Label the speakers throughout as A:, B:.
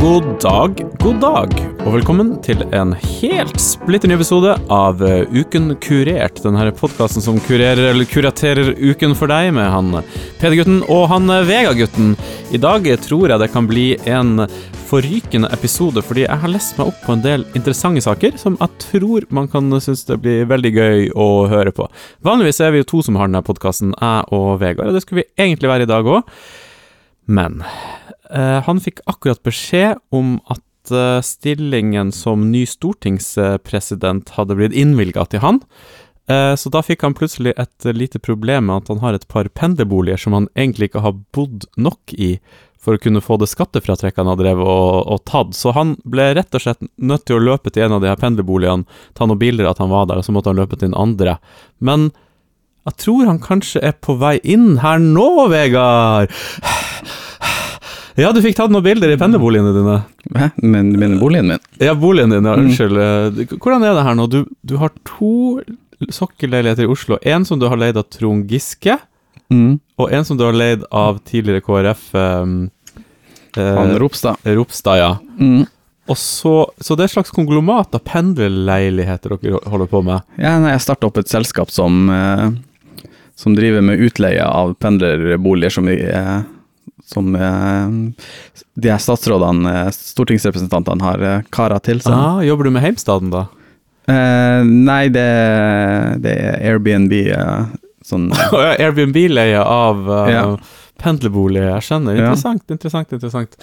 A: God dag, god dag, og velkommen til en helt splitter ny episode av eh, Uken kurert. Denne podkasten som kurerer eller kuraterer uken for deg med han PD-gutten og han eh, Vega-gutten. I dag tror jeg det kan bli en forrykende episode, fordi jeg har lest meg opp på en del interessante saker som jeg tror man kan synes det blir veldig gøy å høre på. Vanligvis er vi jo to som har denne podkasten, jeg og Vegard, og det skulle vi egentlig være i dag òg, men Eh, han fikk akkurat beskjed om at eh, stillingen som ny stortingspresident hadde blitt innvilga til han. Eh, så da fikk han plutselig et eh, lite problem med at han har et par pendlerboliger som han egentlig ikke har bodd nok i for å kunne få det skattefratrekket han har drevet og, og tatt. Så han ble rett og slett nødt til å løpe til en av de her pendlerboligene, ta noen bilder av at han var der, og så måtte han løpe til den andre. Men jeg tror han kanskje er på vei inn her nå, Vegard! Ja, du fikk tatt noen bilder i pendlerboligene dine.
B: Hæ? Men du mener boligen min?
A: Ja, boligen din, ja, unnskyld. Eh, Hvordan er det her nå? Du, du har to sokkelleiligheter i Oslo. En som du har leid av Trond Giske, og en som du har leid av tidligere KrF eh, eh, mm.
B: Han Ropstad.
A: Ropstad, ja. Og så, så det er et slags konglomat av pendlerleiligheter dere holder på med.
B: Ja, nei, jeg starta opp et selskap som, eh, som driver med utleie av pendlerboliger som, vi, eh, som eh, de her statsrådene, eh, stortingsrepresentantene, har eh, kara til seg.
A: Ah, jobber du med Heimstaden, da?
B: Eh, nei, det, det er Airbnb. Eh, sånn
A: Å ja, Airbnb-leie av uh,
B: Ja.
A: pendlerbolig, jeg skjønner.
B: Ja.
A: Interessant, interessant, interessant.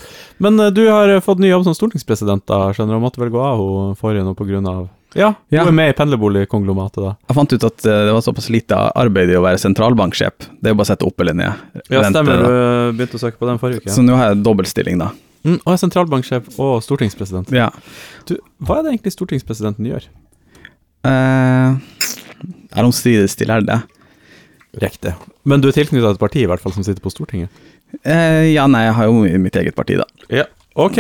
A: Men eh, du har eh, fått ny jobb som stortingspresident, da, skjønner du, og måtte vel gå av hun forrige nå på grunn av Ja, hun
B: Ja.
A: er med i pendlerboligkonglomatet, da.
B: Jeg fant ut at eh, det var såpass lite arbeid i å være sentralbanksjef. Det er jo bare å sette opp eller ned.
A: Ja,
B: Vente,
A: stemmer,
B: da.
A: du eh, begynte å søke på den forrige uke.
B: Så nå har jeg dobbeltstilling, da.
A: Mm, og er sentralbanksjef og stortingspresident.
B: Ja.
A: Du, hva er det egentlig stortingspresidenten gjør?
B: Eh, er omstrides til, er det det?
A: Riktig. Men du er tilknyttet et parti, i hvert fall, som sitter på Stortinget?
B: Eh, ja, nei, jeg har jo mitt eget parti, da.
A: Ja, ok.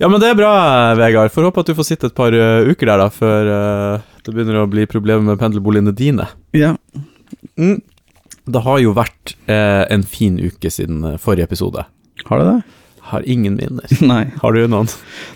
A: Ja, men det er bra, Vegard. Får håpe at du får sitte et par eh, uker der, da, før eh, det begynner å bli problemer med pendlerboligene dine.
B: Ja.
A: Mm. Det har jo vært eh, en fin uke siden eh, forrige episode.
B: Har du det?
A: Har ingen minner.
B: Nei.
A: Har du noen?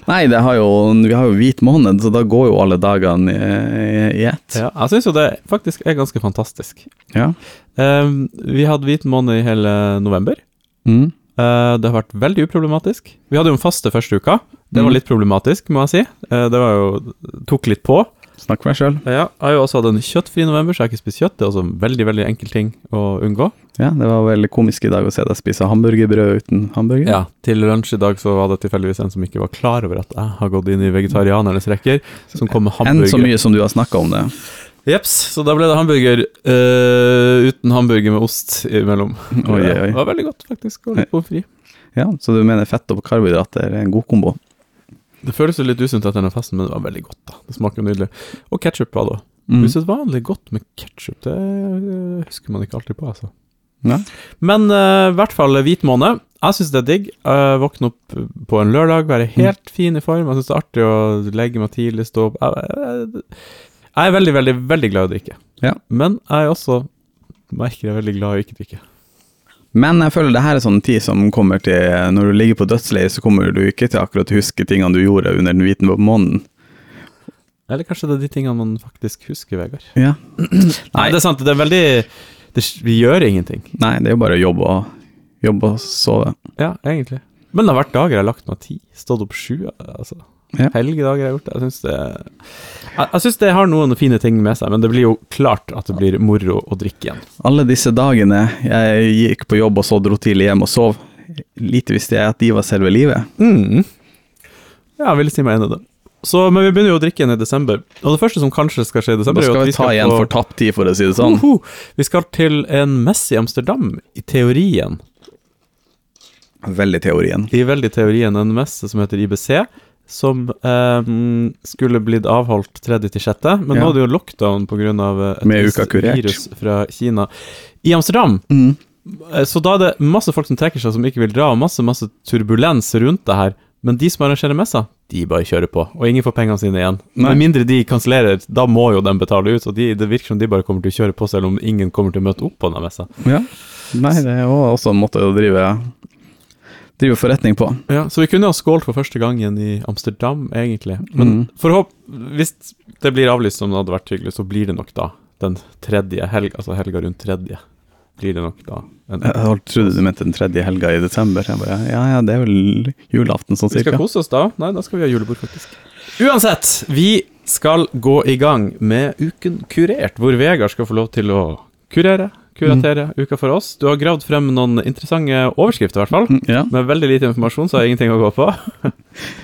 B: Nei, det har jo, vi har jo hvit måned, så da går jo alle dagene i, i ett.
A: Ja, jeg syns jo det faktisk er ganske fantastisk.
B: Ja.
A: Eh, vi hadde hvit måned i hele november.
B: Mm.
A: Eh, det har vært veldig uproblematisk. Vi hadde jo en faste første uka. Det var
B: Mm.
A: litt problematisk, må jeg si. Eh, det var jo Tok litt på.
B: Snakk for deg sjøl.
A: Ja, jeg har jo også hatt en kjøttfri november, så jeg har ikke spist kjøtt. Det er også en veldig veldig enkel ting å unngå.
B: Ja, det var veldig komisk i dag å se deg spise hamburgerbrød uten hamburger.
A: Ja, Til lunsj i dag så var det tilfeldigvis en som ikke var klar over at jeg har gått inn i vegetarianernes rekker, som kom med
B: Enn så
A: hamburger.
B: mye som du har snakka om det.
A: Jeps, så da ble det hamburger eh, uten hamburger med ost imellom.
B: Oi, oi, oi.
A: Det var veldig godt, faktisk. Og litt pommes frites.
B: Ja, Så du mener fett og karbohydrater er en god kombo?
A: Det føles jo litt usunt etter den festen, men det var veldig godt. da Det smaker jo nydelig. Og ketsjup var det òg.
B: Mm.
A: Usedvanlig godt med ketsjup, det eh, husker man ikke alltid på, altså.
B: Ja.
A: Men eh, i hvert fall hvit måned. Jeg syns det er digg. Eh, våkne opp på en lørdag, være helt fin i form. Jeg syns det er artig å legge meg tidlig, stå opp jeg, jeg, jeg er veldig, veldig, veldig glad i å drikke.
B: Ja.
A: Men jeg er også merker jeg er veldig glad i å ikke drikke.
B: Men jeg føler det her er sånn tid som kommer til Når du ligger på dødsleiet, så kommer du ikke til akkurat å huske tingene du gjorde under den hvite måneden.
A: Eller kanskje det er de tingene man faktisk husker, Vegard.
B: Ja.
A: Nei, det er sant. Det er veldig det, Vi gjør ingenting.
B: Nei, det er jo bare å jobbe og, jobbe og sove.
A: Ja, egentlig. Men det har vært dager jeg har lagt meg ti. Stått opp sju. altså.
B: Ja.
A: Helgedager jeg har gjort det. Jeg syns det, jeg, jeg synes det har noen fine ting med seg, men det blir jo klart at det blir moro å drikke igjen.
B: Alle disse dagene jeg gikk på jobb og så dro tidlig hjem og sov, lite visste jeg at de var selve livet.
A: Ja, jeg vil si meg enig i det. Så, men vi begynner jo å drikke igjen i desember. Og det første som kanskje skal skje i
B: Da
A: desember, er jo
B: skal
A: at
B: vi ta igjen
A: på-
B: for tapt tid, for å si det sånn.
A: Uhu! vi skal til en messe i Amsterdam, i teorien.
B: Veldig teorien.
A: I veldig teorien en messe som heter IBC, som eh, skulle blitt avholdt 3.-6., men nå
B: Ja.
A: er det jo lockdown pga. et
B: Med
A: visst
B: uka kurert. Mm.
A: virus fra Kina i Amsterdam. Eh, Så da er det masse folk som trekker seg, som ikke vil dra, og masse masse turbulens rundt det her. Men de som arrangerer messa, de bare kjører på, og ingen får pengene sine igjen.
B: Nei.
A: Med mindre de kansellerer, da må jo de betale ut, og de, det virker som de bare kommer til å kjøre på, selv om ingen kommer til å møte opp på den messa.
B: Ja. Nei, det var også en måte å drive driver forretning på.
A: Ja, så vi kunne ha skålt for første gangen i Amsterdam, egentlig. Men
B: Mm.
A: forhåp, hvis det blir avlyst som det hadde vært hyggelig, så blir det nok da den tredje helg, altså helga rundt tredje. Blir det nok da en
B: Jeg holdt- trodde du mente den tredje helga i desember. Jeg bare, ja, ja, det er vel julaften sånn
A: Vi skal
B: cirka.
A: kose oss da. Nei, da skal vi ha julebord, faktisk. Uansett, vi skal gå i gang med Uken kurert, hvor Vegard skal få lov til å kurere,
B: Mm.
A: kuratere uka for oss. Du har gravd frem noen interessante overskrifter, i hvert fall.
B: Mm, Ja,
A: Med veldig lite informasjon, så har jeg ingenting å gå på.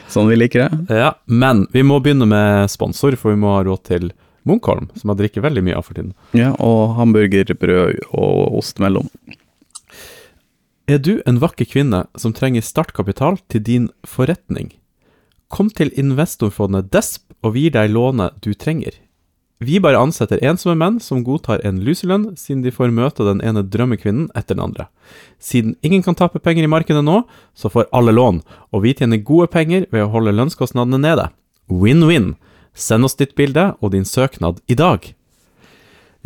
B: sånn vi liker det.
A: Ja, Men vi må begynne med sponsor, for vi må ha råd til Munkholm, som jeg drikker veldig mye av for tiden.
B: Ja, Og hamburger, brød og ost mellom.
A: Er du en vakker kvinne som trenger startkapital til din forretning? Kom til investorfondet DESP og vi gir deg lånet du trenger. Vi bare ansetter ensomme menn som godtar en luselønn, siden de får møte den ene drømmekvinnen etter den andre. Siden ingen kan tape penger i markedet nå, så får alle lån, og vi tjener gode penger ved å holde lønnskostnadene nede. Win-win. Send oss ditt bilde og din søknad i dag.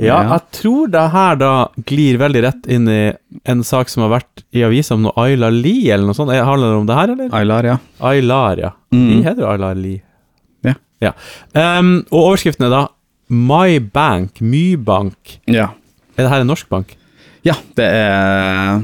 A: Ja,
B: Ja.
A: jeg tror det her da glir veldig rett inn i en sak som har vært i avisa om noe Ayla Lie eller noe sånt. Er- Handler det om det her, eller?
B: Aylar, ja.
A: Aylar, ja.
B: Mm.
A: De heter Aylar Lie.
B: Ja.
A: Ehm, og overskriften er da My Bank, Mybank.
B: Ja,
A: Er det her en norsk bank?
B: ja det er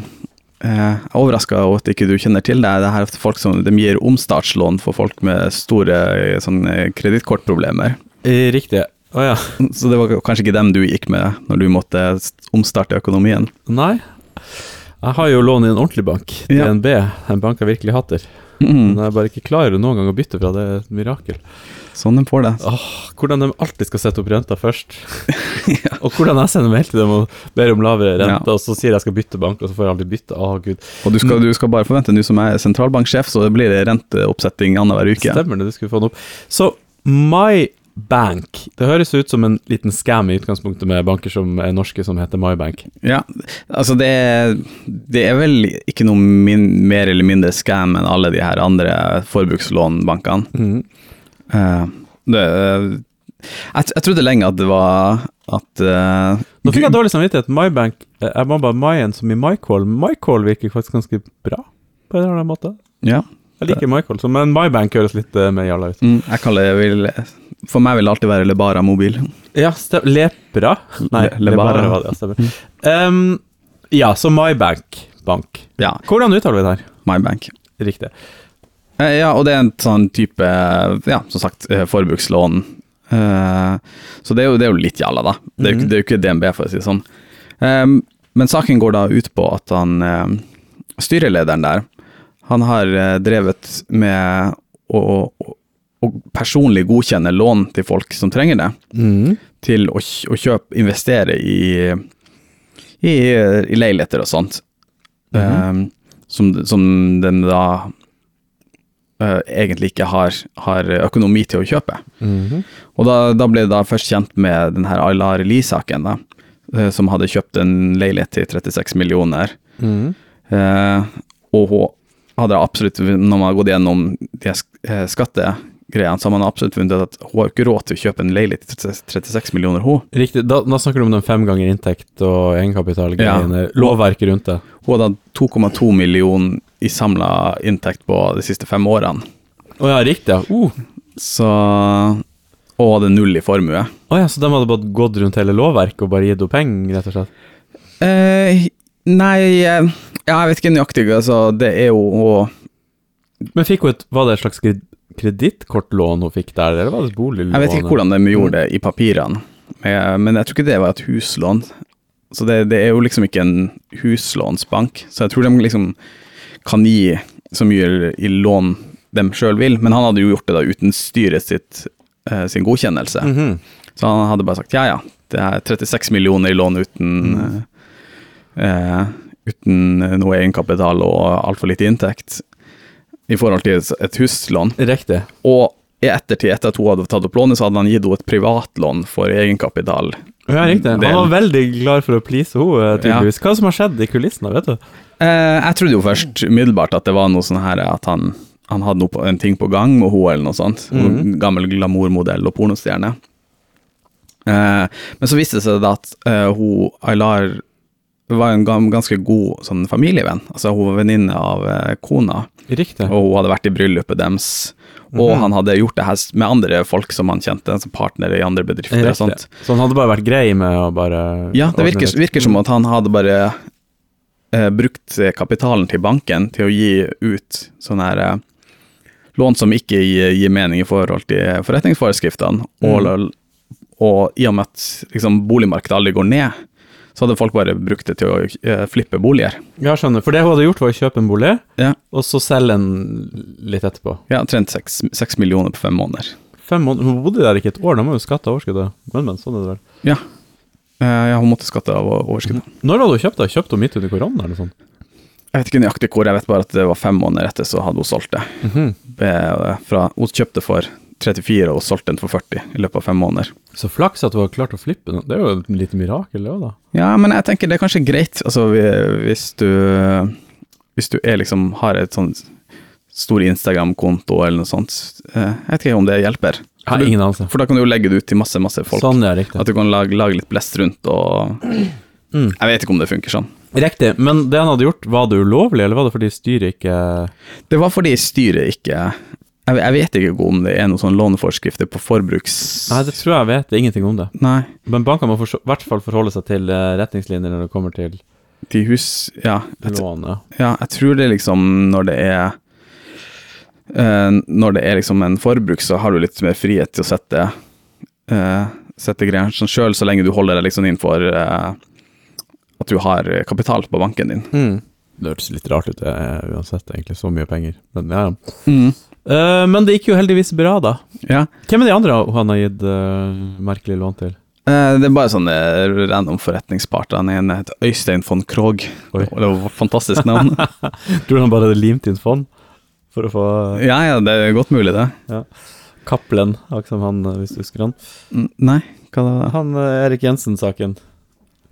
B: eh, Jeg er overraska over at ikke du kjenner til det. Det her er folk som, De gir omstartslån for folk med store eh, sånn, eh, kredittkortproblemer.
A: Eh, Riktig. Å ja.
B: Så det var kanskje ikke dem du gikk med når du måtte omstarte økonomien.
A: Nei. Jeg har jo lån i en ordentlig bank,
B: Ja. Mm.
A: DNB, en bank jeg virkelig hater. Men jeg bare ikke klarer noen gang å bytte fra det, er et mirakel.
B: Sånn de får det.
A: Hvordan de alltid skal sette opp renta først. Og hvordan jeg sender mail til dem og ber om lavere rente, og så sier jeg skal bytte bank, og så får jeg aldri bytte. Å, gud.
B: Og du skal, du skal bare forvente, du som er sentralbanksjef, så blir det renteoppsetting annenhver uke.
A: Stemmer det, du skulle få den opp. Så MyBank Det høres ut som en liten scam i utgangspunktet med banker som er norske, som heter MyBank.
B: Ja, altså det er, det er vel ikke noe min, mer eller mindre scam enn alle de her andre forbrukslånbankene. Eh, det, jeg, jeg trodde lenge at det var at eh,
A: Nå fikk jeg
B: Gu-
A: dårlig samvittighet. MyBank eh, Jeg må bare Mayen som i Mycall. Mycall virker faktisk ganske bra, på en eller annen måte.
B: ja,
A: Jeg liker Mycall, så- men MyBank høres litt eh, mer jalla ut.
B: mm, jeg kaller det vil, For meg vil det alltid være Lebara mobil.
A: Ja, stem, Lepra? Nei,
B: Le- Lebara.
A: Lebara var det, ja, stemmer. Ehm, ja, så MyBank bank.
B: Ja,
A: Hvordan uttaler vi det her?
B: my bank.
A: Riktig.
B: Eh, Ja, og det er en sånn type, ja, som sagt, eh, forbrukslån. Eh, Så det er jo, det er jo litt jalla, da. Det er jo ikke, det er jo ikke DNB, for å si det sånn. Eh, Men saken går da ut på at han eh, styrelederen der, han har eh, drevet med å, å, å personlig godkjenne lån til folk som trenger det, Mm. til å, kj- å kjøpe, investere i, i, i leiligheter og sånt. Eh, som, som den da eh, egentlig ikke har, har økonomi til å kjøpe. Og da, da ble jeg da først kjent med den her Aylar Lie-saken, da, eh, som hadde kjøpt en leilighet til 36 millioner. Eh, og hun hadde absolutt, når man har gått gjennom de sk- eh, skattegreiene, så har man absolutt funnet ut at hun har jo ikke råd til å kjøpe en leilighet til 36 millioner, hun.
A: Riktig. Da, da snakker du om den fem ganger inntekt og egenkapitalgreiene. Lovverket rundt det.
B: Hun hadde 2,2 millioner i samla inntekt på de siste fem årene.
A: Å ja, riktig. ja. Uh.
B: Så, og hadde null i formue.
A: Å ja, så de hadde bare gått rundt hele lovverket og bare gitt henne penger, rett og slett?
B: Eh, nei, eh, ja, jeg vet ikke nøyaktig. Altså, det er jo og,
A: Men fikk hun et, var det et slags kred- kredittkortlån hun fikk der, eller var det et boliglån?
B: Jeg vet ikke hvordan de gjorde det i papirene, eh, men jeg tror ikke det var et huslån. Så det, det er jo liksom ikke en huslånsbank, så jeg tror de liksom kan gi så mye i lån de sjøl vil. Men han hadde jo gjort det da uten styret sitt, eh, sin godkjennelse.
A: Mhm.
B: Så han hadde bare sagt ja, ja, det er 36 millioner i lån uten eh, eh, Uten eh, noe egenkapital og altfor lite inntekt i forhold til et- et huslån.
A: Riktig.
B: Og i ettertid, etter at hun hadde tatt opp lånet, så hadde han gitt henne et privatlån for egenkapital.
A: Å Ja, riktig. Han
B: Del.
A: var veldig glad for å please henne, eh, tydeligvis. Hva som har skjedd i kulissene, vet du?
B: Eh, jeg trodde jo først umiddelbart at det var noe sånn her at han, han hadde noe, på- en ting på gang med henne eller noe sånt. En Gammel glamourmodell og pornostjerne. Eh, men så viste det seg da at eh, hun Aylar var en gam- ganske god sånn, familievenn. Altså, hun var venninne av eh, kona,
A: Riktig.
B: og hun hadde vært i bryllupet deres. Og han hadde gjort det her s- med andre folk som han kjente, som partnere i andre bedrifter. og
A: Riktig.
B: sånt.
A: Så han hadde bare vært grei med å bare
B: Ja, det
A: ordne
B: virker,
A: litt.
B: virker som at han hadde bare eh, brukt eh, kapitalen til banken til å gi ut sånne her eh, lån som ikke gir, gir mening i forhold til forretningsforeskriftene. Og, og i og med at liksom, boligmarkedet aldri går ned, så hadde folk bare brukt det til å eh, flippe boliger.
A: Ja, skjønner. For det hun hadde gjort, var å kjøpe en bolig,
B: Ja,
A: og så selge den litt etterpå.
B: ja trent seks seks millioner på fem måneder.
A: Fem måneder. Hun bodde der ikke et år, da må hun skatte av overskuddet. Men, men, sånn er det vel.
B: Ja. Eh, ja, hun måtte skatte av overskuddet.
A: Når hadde hun kjøpt det? Kjøpte hun midt under korona, eller sånn?
B: Jeg vet ikke nøyaktig hvor, jeg vet bare at det var fem måneder etter så hadde hun solgt det.
A: Mhm.
B: Eh, Fra, hun kjøpte for 34 og solgte den for 40 i løpet av fem måneder.
A: Så flaks at hun har klart å flippe den. Det er jo et lite mirakel, det òg, da.
B: Ja, men jeg tenker det er kanskje greit, altså vi- hvis du, hvis du er liksom, har et sånn stor Instagram-konto eller noe sånt, eh, jeg vet ikke om det hjelper.
A: Jeg har ingen anelse.
B: For da kan du jo legge det ut til masse, masse folk.
A: Sånn, ja, riktig.
B: At du kan lage, lage litt blest rundt og
A: Mm.
B: Jeg vet ikke om det funker sånn.
A: Riktig. Men det han hadde gjort, var det ulovlig, eller var det fordi styret ikke
B: Det var fordi styret ikke Jeg, jeg vet ikke om det er noen sånn låneforskrifter på forbruks...
A: Nei, det tror jeg vet det er ingenting om det.
B: Nei.
A: Men bankene må forstå- i hvert fall forholde seg til eh, retningslinjer når det kommer til
B: De hus Ja, jeg, t-
A: lån. Ja.
B: ja, jeg tror det er liksom når det er eh, Når det er liksom en forbruk, så har du litt mer frihet til å sette uh, Sette grensene sjøl, så lenge du holder deg liksom innenfor eh, at du har eh, kapital på banken din.
A: Mm. Det hørtes litt rart ut eh, uansett, egentlig. Så mye penger. Men ja, ja. Eh, men det gikk jo heldigvis bra, da.
B: Ja.
A: Hvem er de andre han har gitt eh, merkelige lån til?
B: Eh, det er bare sånne random forretningsparter. Den ene heter Øystein von Krogh,
A: Oi.
B: og det var et fantastisk navn.
A: Tror du han bare hadde limt inn fond for å få eh,
B: ja, ja, det er godt mulig, det.
A: Cappelen, akkurat som han, eh, hvis du husker han.
B: Mm, Nei, hva da?
A: Han eh, Erik Jensen-saken.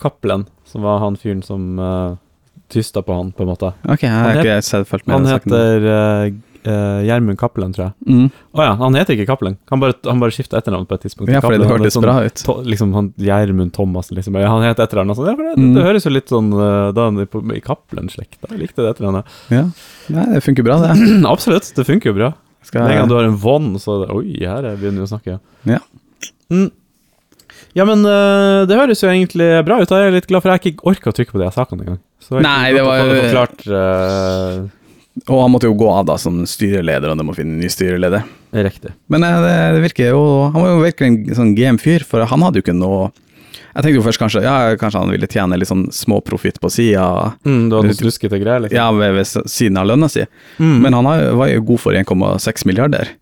A: Cappelen, som var han fyren som uh, tysta på han, på en måte.
B: Ok, jeg har
A: Han
B: ikke sett fulgt med. i
A: Han
B: den saken.
A: heter eh, eh, Gjermund Cappelen, tror jeg.
B: mm.
A: Å ja, han heter ikke Cappelen. Han bare, han bare skifter etternavn på et tidspunkt.
B: Ja, fordi det
A: Cappelen, han er
B: hørtes
A: sånn-
B: bra ut.
A: to, liksom han Gjermund Thomassen, liksom. Ja, han het et eller annet sånt. Ja, for det,
B: Mm.
A: det høres jo litt sånn eh, da han er på, i Cappelen-slekta. Jeg likte det et eller annet.
B: Ja. Nei, det funker bra, det.
A: Absolutt, det funker jo bra.
B: Skal
A: Med en
B: jeg-
A: gang du har en von, så er det, Oi, her er- begynner vi å snakke.
B: Ja.
A: Mm. Ja, men eh, det høres jo egentlig bra ut. da. Jeg er litt glad, for jeg har ikke orka å trykke på de her sakene engang. Så jeg
B: Nei,
A: kunne
B: det
A: godt
B: var-
A: å få Forklart, eh,
B: Og han måtte jo gå av da som styreleder, og de må finne en ny styreleder.
A: riktig.
B: Men eh, det, det virker jo Han var jo virkelig en sånn game fyr, for han hadde jo ikke noe Jeg tenkte jo først kanskje ja, kanskje han ville tjene litt sånn småprofitt på sida,
A: Mm, du hadde noen sluskete greier, liksom.
B: ja, ved, ved siden av lønna si,
A: Mm.
B: men han har, jo- var jo god for 1,6 milliarder.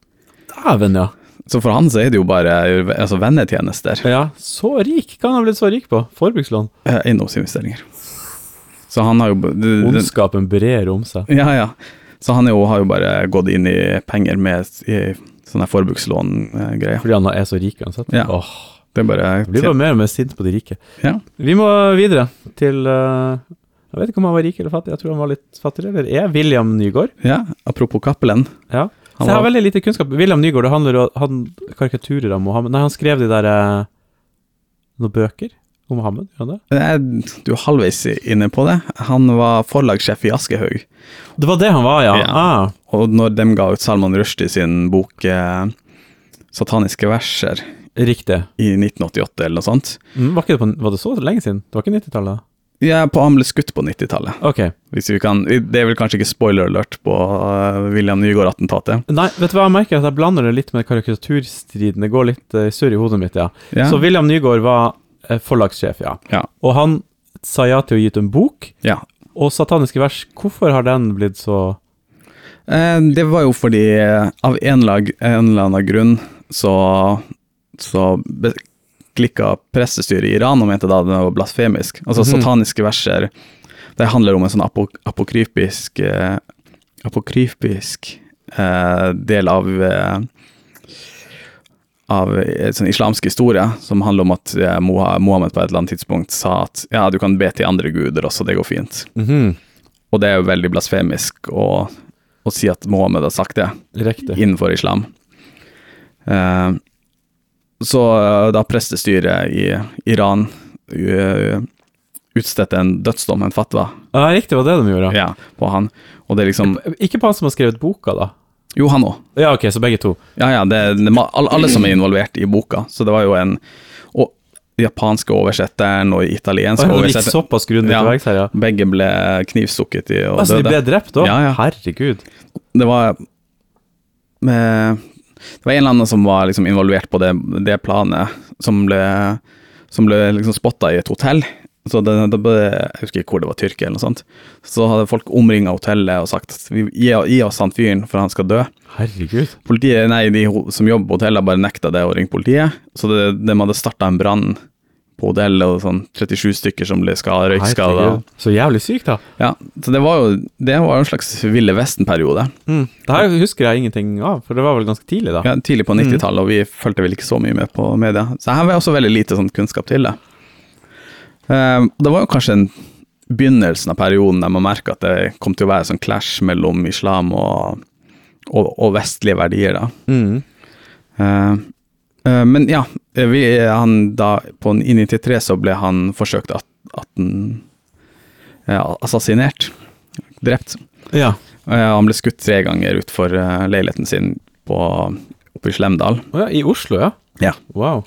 A: Dæven, ja.
B: Så for han så er det jo bare altså, vennetjenester,
A: Ja, så rik! Hva har han blitt så rik på? Forbrukslån.
B: eh, eiendomsinvesteringer. Så han har jo b- det- det-
A: Ondskapen brer om seg.
B: Ja, ja. Så han er jo, har jo bare gått inn i penger med i sånne forbrukslån-greier.
A: Fordi han er så rik uansett.
B: Ja.
A: Åh,
B: Det er bare
A: jeg blir bare mer og mer sint på de rike.
B: Ja.
A: Vi må videre til eh, Jeg vet ikke om han var rik eller fattig, jeg tror han var litt fattigere. Eller er William Nygaard?
B: Ja, apropos Cappelen.
A: Ja. Så
B: Han
A: jeg har
B: var-
A: veldig lite kunnskap. William Nygaard det handler om han, karikaturer av Mohammed Nei, han skrev de der eh, noen bøker om Mohammed? Gjør han det?
B: Jeg er- Eh, Du er halvveis inne på det. Han var forlagssjef i Aschehoug.
A: det var det han var, ja.
B: Ja.
A: Ah,
B: Og når de ga ut Salman Rushdie sin bok eh, 'Sataniske verser'
A: riktig.
B: i 1988 eller noe sånt
A: Mm, var, ikke det på, var det så lenge siden? Det var ikke 90-tallet?
B: ja, på, Han ble skutt på 90-tallet.
A: Ok.
B: Hvis vi kan- Det er vel kanskje ikke spoiler alert på eh, William Nygaard-attentatet.
A: Nei, vet du hva jeg merker? At jeg blander det litt med karikaturstriden. Det går litt uh, surr i hodet mitt, ja.
B: Ja.
A: Så William Nygaard var eh, forlagssjef, ja.
B: Ja.
A: Og han sa ja til å gi ut en bok.
B: ja.
A: Og Sataniske vers, hvorfor har den blitt så
B: Eh, Det var jo fordi eh, av en, lag, en eller annen grunn så, så klikka pressestyret i Iran og mente da det var blasfemisk. Altså
A: Mhm.
B: sataniske verser. Det handler om en sånn apo, apokryfisk eh, Apokryfisk eh, del av eh, av eh, sånn islamsk historie, som handler om at eh, Moha- Mohammed på et eller annet tidspunkt sa at ja, du kan be til andre guder også, det går fint. Og det er jo veldig blasfemisk å, å si at Mohammed har sagt det
A: Riktig.
B: innenfor islam. Eh, så eh, da prestestyret i Iran eh, utstedt en dødsdom, en fatwa,
A: Ja, riktig, det var det de gjorde.
B: ja, på han. Og det er liksom
A: Ikke på han som har skrevet boka, da.
B: Jo, han òg.
A: Ja, ok, så begge to.
B: Ja, ja, det, det, ma- alle, alle som er involvert i boka. Så det var jo en Og japanske oversetteren og italienske
A: Oi, det gikk
B: oversetteren
A: såpass grundig
B: Ja.
A: til verks her, ja.
B: Begge ble knivstukket i og
A: Altså, de ble
B: døde.
A: drept òg?
B: Ja, ja.
A: Herregud.
B: Det var med, Det var en eller annen som var liksom involvert på det, det planet, som ble, som ble liksom spotta i et hotell. Så det, det ble, jeg husker ikke hvor det var, Tyrkia eller noe sånt. Så hadde folk omringa hotellet og sagt «Vi- gi, gi oss han fyren, for han skal dø.
A: Herregud.
B: Politiet, nei, de ho- som jobber på hotellet, bare nekta det og ringte politiet. Så det, de hadde starta en brann på hotellet, og sånn 37 stykker som ble ska- røykskada.
A: Herregud. Så jævlig sykt, da.
B: Ja, så det var jo det var jo en slags Ville Vesten-periode.
A: Mm. Det her husker jeg ingenting av, for det var vel ganske tidlig, da.
B: Ja, tidlig på 90-tallet, og vi fulgte vel ikke så mye med på media. Så her var også veldig lite sånn kunnskap til det. Eh, og det var jo kanskje en begynnelsen av perioden der man merka at det kom til å være sånn clash mellom islam og, og, og vestlige verdier, da.
A: Mm.
B: Eh, eh, men ja, eh, vi, han da, på en- i 93 så ble han forsøkt at, at den, ja, assassinert, drept.
A: Ja.
B: Eh, han ble skutt tre ganger utfor uh, leiligheten sin på, oppe i Slemdal.
A: Å ja, I Oslo, ja.
B: Ja.
A: Wow.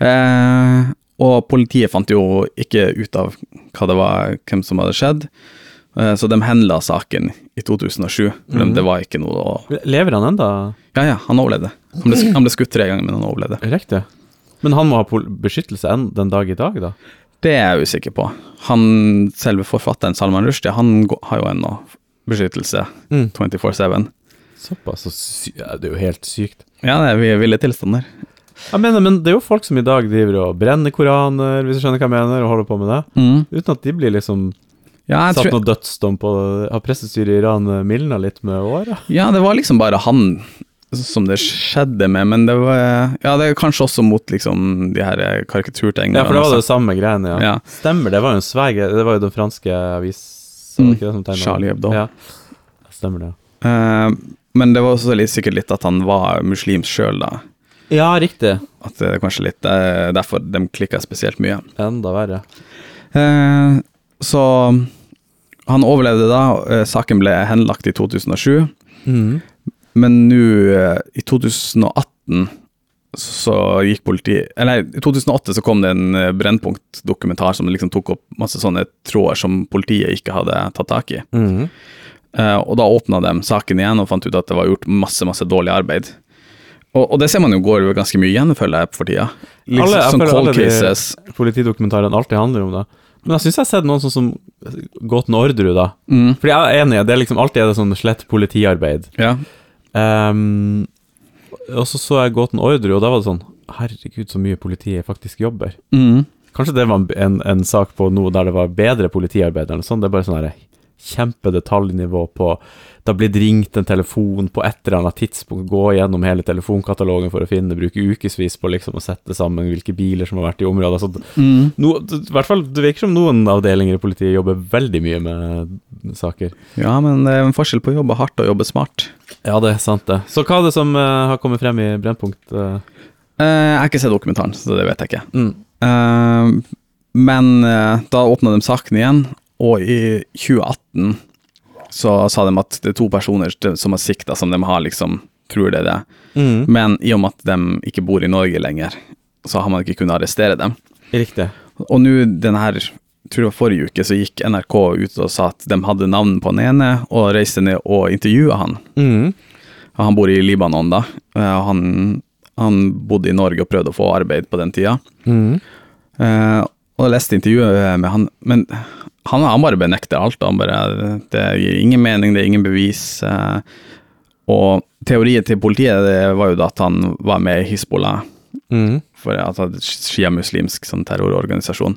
B: Eh, og politiet fant jo ikke ut av hva det var, hvem som hadde skjedd, Eh, så de henla saken i 2007. for
A: Mhm.
B: dem- Det var ikke noe å
A: Lever han enda?
B: Ja, ja, han overlevde. Han ble, sk- han ble skutt tre ganger, men han overlevde.
A: Riktig. Men han må ha pol beskyttelse enn den dag i dag, da?
B: Det er jeg usikker på. Han, selve forfatteren Salman Rushdie, han gå- har jo ennå beskyttelse
A: Mm.
B: 24-7.
A: Såpass? Så sy ja, det er jo helt sykt.
B: Ja, det er vi- ville tilstander.
A: Jeg mener, Men det er jo folk som i dag driver og brenner koraner, hvis du skjønner hva jeg mener, og holder på med det. Uten at de blir liksom
B: Ja,
A: Mhm.
B: jeg
A: satt
B: tror,
A: noe dødsdom på Har prestestyret i Iran mildna litt med åra?
B: ja, det var liksom bare han som det skjedde med, men det var Ja, det er kanskje også mot liksom de her eh, karikaturtegnerne.
A: Ja, for det var det samme greiene, ja.
B: Ja.
A: Stemmer, det var jo en sverger Det var jo den franske avisa,
B: Mm.
A: var det ikke det som tegnet den?
B: Charlie Hebdo.
A: Ja. Stemmer det.
B: Eh, men det var også litt, sikkert litt at han var muslim sjøl, da.
A: Ja, riktig.
B: At det er kanskje litt eh, derfor de klikka spesielt mye.
A: Enda verre.
B: Eh, Så han overlevde da, eh, saken ble henlagt i 2007,
A: Mm.
B: men nå eh, i 2018 så gikk politiet Eller i 2008 så kom det en eh, Brennpunkt-dokumentar som liksom tok opp masse sånne tråder som politiet ikke hadde tatt tak i.
A: Mhm.
B: Eh, og da åpna de saken igjen og fant ut at det var gjort masse, masse dårlig arbeid. Og, og det ser man jo går ganske mye igjen, føler jeg, for tida. Litt
A: Alle- jeg
B: sånn
A: føler alle
B: cold
A: de-
B: cases.
A: Politidokumentarene alltid handler om det. Men jeg syns jeg har sett noen sånn som Gåten Orderud, da.
B: Mm,
A: Fordi jeg er enig, det er liksom alltid er det sånn slett politiarbeid.
B: ja.
A: Ehm, og så så jeg Gåten Orderud, og da var det sånn Herregud, så mye politiet faktisk jobber.
B: Mm.
A: Kanskje det var en, en, en sak på noe der det var bedre politiarbeid eller noe sånt. Det er bare sånn her kjempedetaljnivå på Det har blitt ringt en telefon på et eller annet tidspunkt, gå gjennom hele telefonkatalogen for å finne, bruke ukevis på liksom å sette sammen hvilke biler som har vært i området. Så,
B: Mm.
A: no, det- i hvert fall, det virker som noen avdelinger i politiet jobber veldig mye med saker.
B: Ja, men det er en forskjell på å jobbe hardt og jobbe smart.
A: Ja, det er sant, det. Så hva er det som eh, har kommet frem i Brennpunkt? eh?
B: Eh, jeg har ikke sett dokumentaren, så det vet jeg ikke.
A: Mm.
B: Eh, men eh, da åpna de saken igjen, og i 2018 så sa de at det er to personer som har sikta, som de har liksom tror det er det. Men i og med at de ikke bor i Norge lenger, så har man ikke kunnet arrestere dem.
A: Riktig.
B: Og nå denne her, tror jeg forrige uke, så gikk NRK ut og sa at de hadde navnet på den ene, og reiste ned og intervjua han.
A: Mm.
B: Og Han bor i Libanon da, eh, og han, han bodde i Norge og prøvde å få arbeid på den tida.
A: Mm.
B: Eh, og jeg leste intervjuet med han, men han, han bare benekter alt. Han bare, det gir ingen mening, det er ingen bevis. eh, og teorien til politiet det var jo da at han var med i Hizbollah
A: Mm.
B: for at han er sjiamuslimsk sånn terrororganisasjon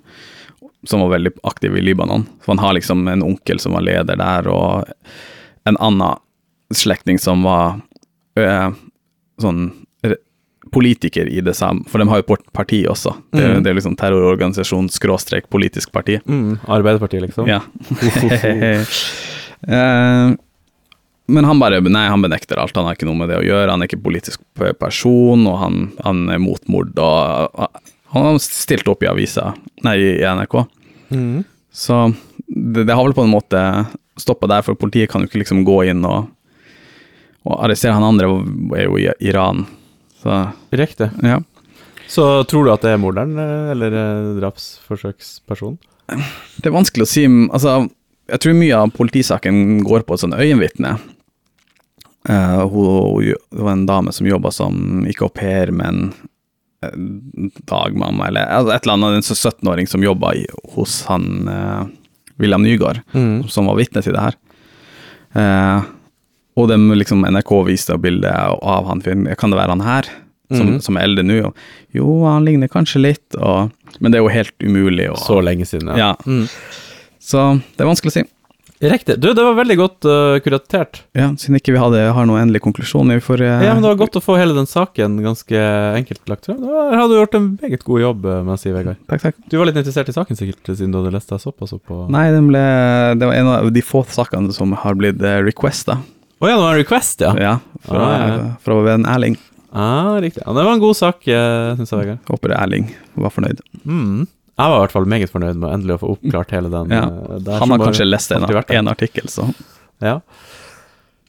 B: som var veldig aktiv i Libanon. Så han har liksom en onkel som var leder der, og en annen slektning som var øh, sånn re- politiker i det samme, for de har jo port- parti også. Det, er-
A: Mm.
B: det er liksom terrororganisasjon skråstrek politisk parti.
A: Mm. Arbeiderpartiet, liksom?
B: Ja. Eh, Men han bare Nei, han benekter alt. Han har ikke noe med det å gjøre. Han er ikke politisk p- person, og han, han er mot mord og Han har stilt opp i avisa, nei, i NRK.
A: Mhm.
B: Så det, det har vel på en måte stoppa der, for politiet kan jo ikke liksom gå inn og, og arrestere han andre, er jo i Iran. Så
A: Riktig.
B: ja.
A: Så tror du at det er morderen eh, eller eh, drapsforsøkspersonen?
B: Det er vanskelig å si m- Altså, jeg tror mye av politisaken går på et sånn øyenvitne. Eh, hun, hun var en dame som jobba som ikke au pair, men eh, dagmamma, eller altså et eller annet. En så- 17-åring som jobba hos han eh, William Nygaard,
A: Mm.
B: som var vitne til det her. Eh, og dem, liksom, NRK viste bilde av han fyren. Kan det være han her, som,
A: Mhm.
B: som er eldre nå? Og, Jo, han ligner kanskje litt, og, men det er jo helt umulig å
A: Så lenge siden, ja.
B: ja.
A: Mm.
B: Så det er vanskelig å si.
A: Riktig. Du, det var veldig godt eh, kuratert.
B: Ja, Siden ikke vi hadde, har noen endelig konklusjon. Vi får eh,
A: Ja, men Det var godt å få hele den saken ganske enkelt lagt frem. Der har du gjort en meget god jobb, eh, må jeg si, Vegard.
B: Takk, takk.
A: Du var litt interessert i saken, sikkert, siden du hadde lest deg såpass opp på Å
B: Nei, den ble, det var en av de få sakene som har blitt requesta.
A: ja, det var en request, ja.
B: Ja. fra,
A: Ah, ja, ja.
B: fra vår venn Erling.
A: Ah, riktig. Ja, det var en god sak, eh, synes jeg, Vegard.
B: Håper Erling var fornøyd.
A: Mm. Jeg var i hvert fall meget fornøyd med endelig å få oppklart hele den.
B: Ja.
A: eh, der
B: Han
A: som
B: har
A: bare-
B: kanskje lest en,
A: alltid vært der.
B: en artikkel, så
A: Ja.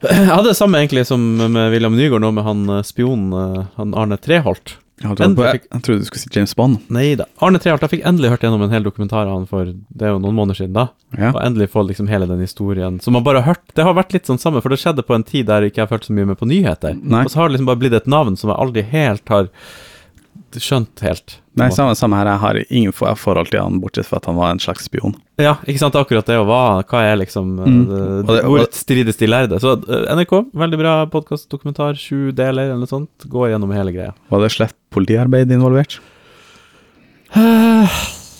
A: Jeg hadde det samme egentlig som med William Nygaard nå, med han eh, spionen eh, han Arne Treholt.
B: jeg, holdt på, jeg,
A: Endelig
B: jeg trodde du skulle si James Bond.
A: Nei da. Arne Treholt, jeg fikk endelig hørt gjennom en hel dokumentar av han for det er jo noen måneder siden, da.
B: Ja.
A: Og endelig få liksom hele den historien som man bare har hørt. Det har vært litt sånn samme, for det skjedde på en tid der ikke jeg følte så mye med på nyheter.
B: Nei.
A: Og så har det liksom bare blitt et navn som jeg aldri helt har skjønt helt.
B: Nei, samme, samme her. Jeg har ingen for- forhold til han, bortsett fra at han var en slags spion.
A: Ja, ikke sant. Akkurat det, og hva, hva er liksom eh,
B: Mm.
A: det,
B: Og det- og-
A: Hvor strides de lærde? Så eh, NRK, veldig bra podkast, dokumentar, sju deler eller noe sånt. Går gjennom hele greia.
B: Var det slett politiarbeid involvert?
A: Eh,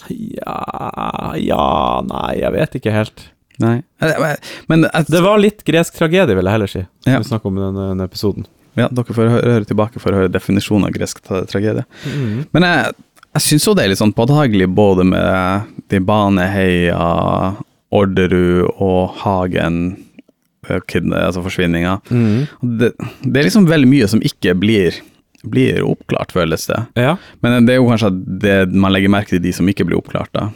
A: ja Ja, nei, jeg vet ikke helt.
B: Nei. Eh, Men jeg,
A: Det var litt gresk tragedie, vil jeg heller si, som
B: Ja.
A: vi snakker om i denne, denne episoden.
B: Ja, dere får hø- høre tilbake for å høre definisjonen av gresk tra- tragedie. Men jeg, jeg syns jo det er litt sånn påtagelig både med de Baneheia, Orderud og Hagen, eh, kidna- altså forsvinninga.
A: Mm.
B: Det, det er liksom veldig mye som ikke blir, blir oppklart, føles det.
A: Ja.
B: Men det er jo kanskje det man legger merke til de som ikke blir oppklart, da.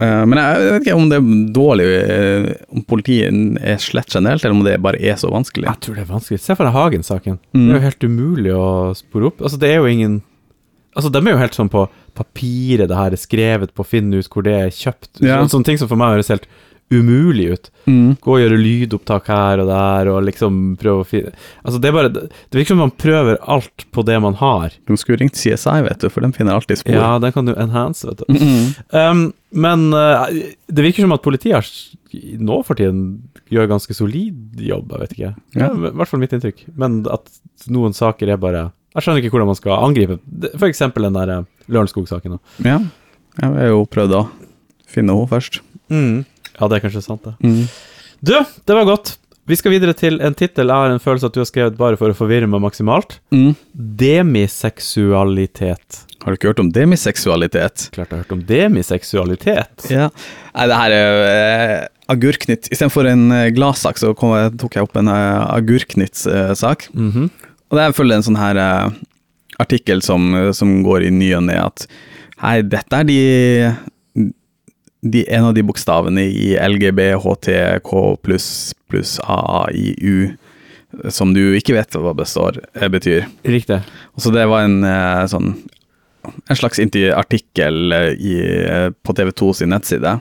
B: Eh, Men jeg jeg vet ikke om det er dårlig eh, Om politiet er slett generelt, eller om det bare er så vanskelig.
A: Jeg tror det er vanskelig. Se for deg Hagen-saken.
B: Mm.
A: Det er jo helt umulig å spore opp. Altså, det er jo ingen Altså, de er jo helt sånn på papiret, det her er skrevet på, finn ut hvor det er kjøpt.
B: Ja.
A: Sånne ting som for meg høres helt umulig ut.
B: Mm.
A: Gå og gjøre lydopptak her og der, og liksom prøve å finne Altså, det er bare Det virker som man prøver alt på det man har.
B: De skulle ringt CSI, vet du, for de finner alltid spor.
A: Ja, den kan du enhance, vet du.
B: Mhm.
A: Um, men eh, det virker som at politiet har, s- nå for tiden gjør ganske solid jobb, jeg vet ikke. Det
B: Ja.
A: er I hvert fall mitt inntrykk. Men at noen saker er bare Jeg skjønner ikke hvordan man skal angripe Det- For eksempel den der eh, Lørenskog-saken. da.
B: ja. Jeg har jo prøvd å finne henne først.
A: Ja, det er kanskje sant, det. Du, det var godt. Vi skal videre til en tittel jeg har en følelse at du har skrevet bare for å forvirre meg maksimalt.
B: Mm.
A: Demiseksualitet.
B: Har du ikke hørt om demiseksualitet?
A: Klart jeg har hørt om demiseksualitet.
B: Ja. Nei, det her er jo eh, agurknytt. Istedenfor en eh, gladsak, så kom jeg, tok jeg opp en eh, agurknytt-sak.
A: Mhm.
B: Og der følger en sånn her eh, artikkel som, eh, som går i ny og ne, at hei, dette er de, de En av de bokstavene i LGBHTK pluss pluss AAIU som du ikke vet hva består, eh, betyr.
A: Riktig.
B: Og Så det var en eh, sånn en slags intervju- artikkel eh, i, eh, på TV 2 sin nettside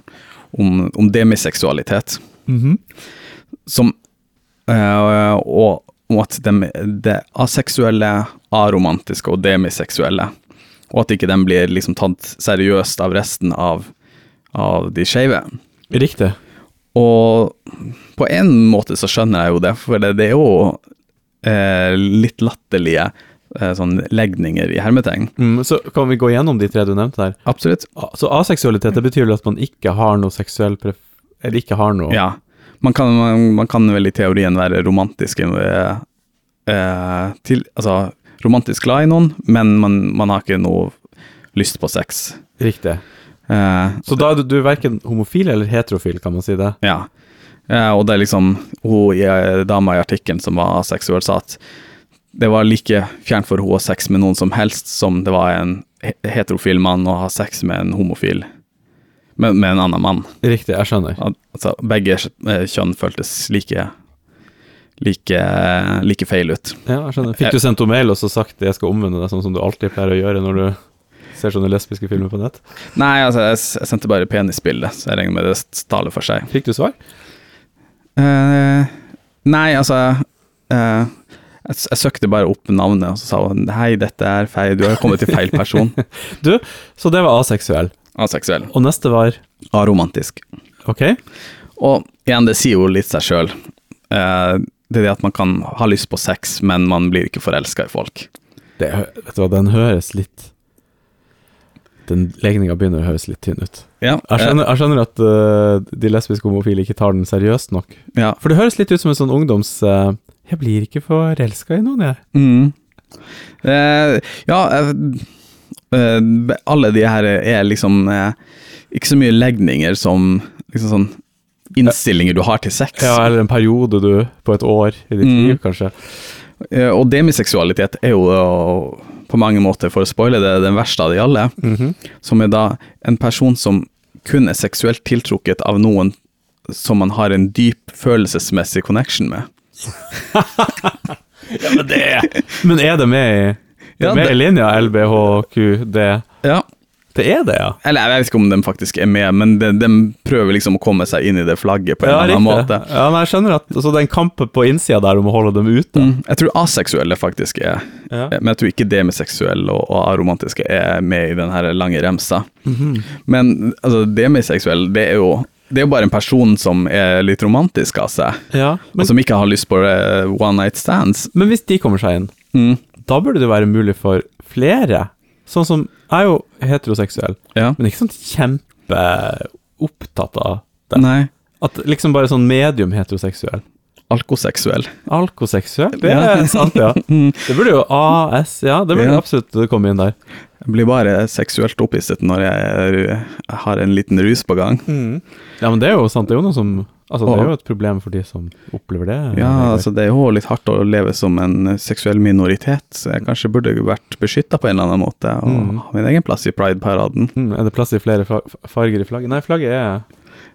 B: om, om demiseksualitet,
A: Mhm.
B: som eh, og om at de, det aseksuelle, aromantiske og demiseksuelle, og at ikke de blir liksom tatt seriøst av resten av, av de skeive.
A: Riktig.
B: Og på en måte så skjønner jeg jo det, for det, det er jo eh, litt latterlige eh, sånn legninger i hermetegn.
A: Mm, så kan vi gå gjennom de tre du nevnte der.
B: Absolutt.
A: A- Så aseksualitet, det betyr vel at man ikke har noe seksuell pref... Eller ikke har noe
B: Ja. Man kan, man, man kan vel i teorien være romantisk eh, eh, til, Altså romantisk glad i noen, men man, man har ikke noe lyst på sex.
A: Riktig.
B: Eh,
A: Så da er du, du er verken homofil eller heterofil, kan man si det?
B: ja. Eh, og det er liksom hun i, eh, dama i artikkelen som var aseksuell, sa at det var like fjernt for hun å ha sex med noen som helst som det var en he- heterofil mann å ha sex med en homofil men med en annen mann.
A: Riktig, jeg skjønner.
B: Al- Altså, begge eh, kjønn føltes like, like, like feil ut.
A: Ja, jeg skjønner. Fikk du sendt henne mail og så sagt jeg skal omvende deg, sånn som du alltid pleier å gjøre når du ser sånne lesbiske filmer på nett?
B: Nei, altså, jeg, s- jeg sendte bare penisbildet, så jeg regner med det s- taler for seg.
A: Fikk du svar?
B: Eh, nei, altså eh, jeg, s- jeg søkte bare opp navnet, og så sa hun hei, dette er feil, du har kommet til feil person.
A: Så det var aseksuell.
B: Aseksuell.
A: Og neste var
B: Aromantisk.
A: Ok,
B: Og igjen, det sier jo litt seg sjøl. det er det at man kan ha lyst på sex, men man blir ikke forelska i folk.
A: det, hø- vet du hva, den høres litt Den legninga begynner å høres litt tynn ut.
B: Ja,
A: Jeg skjønner, jeg skjønner at øh, de lesbiske homofile ikke tar den seriøst nok.
B: eh, ja.
A: For det høres litt ut som en sånn ungdoms øh, Jeg blir ikke forelska i noen, jeg.
B: Mm. Eh, ja, eh, eh, be- alle de her er liksom eh, ikke så mye legninger som liksom sånn innstillinger du har til sex.
A: Ja, eller en periode, du, på et år i ditt
B: Mm.
A: liv, kanskje.
B: Eh, og demiseksualitet er jo eh, på mange måter, for å spoile det, den verste av de alle,
A: Mhm.
B: som er da en person som kun er seksuelt tiltrukket av noen som man har en dyp følelsesmessig connection med.
A: Ja, men det Men er det med i det er
B: Ja,
A: med
B: det-
A: i linja LBHQD?
B: Ja,
A: Det er det, ja.
B: Eller jeg vet ikke om de faktisk er med, men de, de prøver liksom å komme seg inn i det flagget på en
A: Ja,
B: eller
A: riktig.
B: annen måte.
A: Ja, men jeg skjønner at Så det er en kamp på innsida der om å holde dem ute.
B: Mm, jeg tror aseksuelle faktisk er eh,
A: Ja.
B: Men jeg tror ikke demiseksuelle og, og aromantiske er med i den her lange remsa. Men altså, demiseksuell, det er jo det er jo bare en person som er litt romantisk av seg,
A: Ja,
B: og
A: men,
B: som ikke har lyst på eh, one night stands.
A: men hvis de kommer seg inn,
B: Mm,
A: da burde det være mulig for flere. Sånn som Jeg er jo heteroseksuell,
B: ja.
A: men ikke sånn kjempeopptatt av det.
B: Nei,
A: At liksom bare sånn medium heteroseksuell.
B: alkoseksuell.
A: Alkoseksuell, det
B: Ja.
A: er sant, ja. Det burde jo AS, ja. Det burde
B: Ja.
A: absolutt komme inn der.
B: Jeg blir bare seksuelt opphisset når jeg, er- jeg har en liten rus på gang.
A: Ja, men det er jo sant. Det er jo noe som Altså, det er jo et problem for de som opplever det.
B: Ja, altså Det er jo litt hardt å leve som en eh, seksuell minoritet, så jeg kanskje burde vært beskytta på en eller annen måte, og ha min egen plass i prideparaden.
A: Mm, er det plass til flere fa- farger i flagget? Nei, flagget er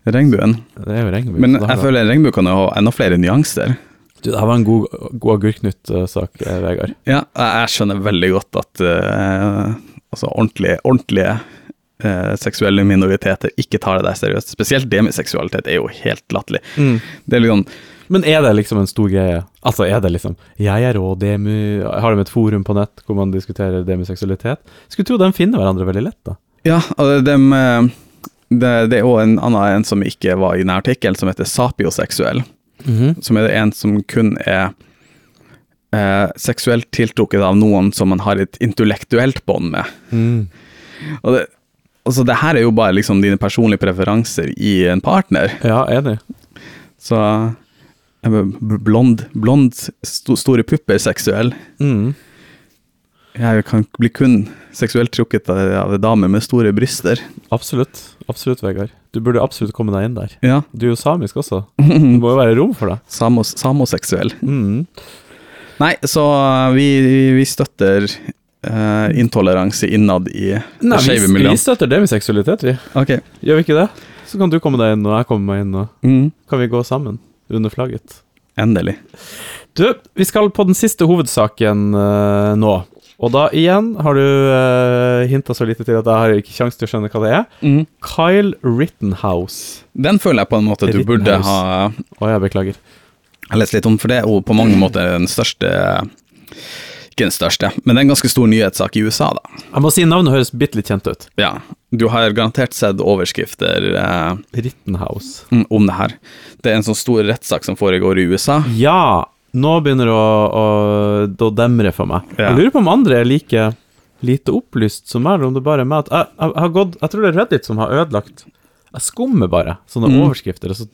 B: Regnbuen.
A: Det er jo regnbue.
B: Men
A: så da har
B: jeg
A: det-
B: føler en regnbue kan jo ha enda flere nyanser.
A: Du, det her var en god, god agurknytt-sak, eh, Vegard.
B: Ja, jeg jeg skjønner veldig godt at eh, altså ordentlige, ordentlige eh, seksuelle minoriteter ikke tar det der seriøst. Spesielt demiseksualitet er jo helt latterlig. Det er liksom
A: Men er det liksom en stor greie? Altså, er det liksom Jeg er rå, demu Har de et forum på nett hvor man diskuterer demiseksualitet? Skulle tro de finner hverandre veldig lett, da.
B: Ja, og dem, eh, det, det er òg en annen en som ikke var i denne artikkelen, som heter sapioseksuell.
A: Mhm.
B: Som er en som kun er eh, seksuelt tiltrukket av noen som man har et intellektuelt bånd med.
A: Mm.
B: Og det, altså det her er jo bare liksom dine personlige preferanser i en partner.
A: Ja, enig.
B: Så eh, b- blond, blond sto, store pupper seksuell.
A: Mm.
B: Jeg kan bli kun seksuelt trukket av, av damer med store bryster.
A: Absolutt. Absolutt, Vegard. Du burde absolutt komme deg inn der.
B: Ja.
A: Du er jo samisk også. Det må jo være rom for deg.
B: Samos, samoseksuell.
A: Mm.
B: Nei, så eh, vi, vi støtter eh, intoleranse innad i det
A: Nei,
B: skeive
A: vi, vi
B: miljøet.
A: støtter demiseksualitet, vi.
B: Ok.
A: Gjør vi ikke det? Så kan du komme deg inn, og jeg kommer meg inn, og
B: Mm.
A: kan vi gå sammen under flagget.
B: Endelig.
A: Du, vi skal på den siste hovedsaken eh, nå. Og da igjen har du uh, hinta så lite til at jeg har ikke kjangs til å skjønne hva det er. Kyle Rittenhouse.
B: Den føler jeg på en måte du
A: Rittenhouse.
B: burde ha
A: Å, jeg beklager.
B: Jeg har lest litt om, for det er jo på mange måter den største Ikke den største, men det er en ganske stor nyhetssak i USA, da.
A: Jeg må si navnet høres bitte litt kjent ut.
B: Ja, du har garantert sett overskrifter eh,
A: Rittenhouse.
B: om det her. Det er en sånn stor rettssak som foregår i USA.
A: Ja, nå begynner det å, å det å demre for meg.
B: Ja.
A: Jeg lurer på om andre er like lite opplyst som meg, eller om det bare er meg at jeg, jeg, jeg har gått Jeg tror det er Reddit som har Mm. ødelagt Jeg skummer bare sånne overskrifter, og så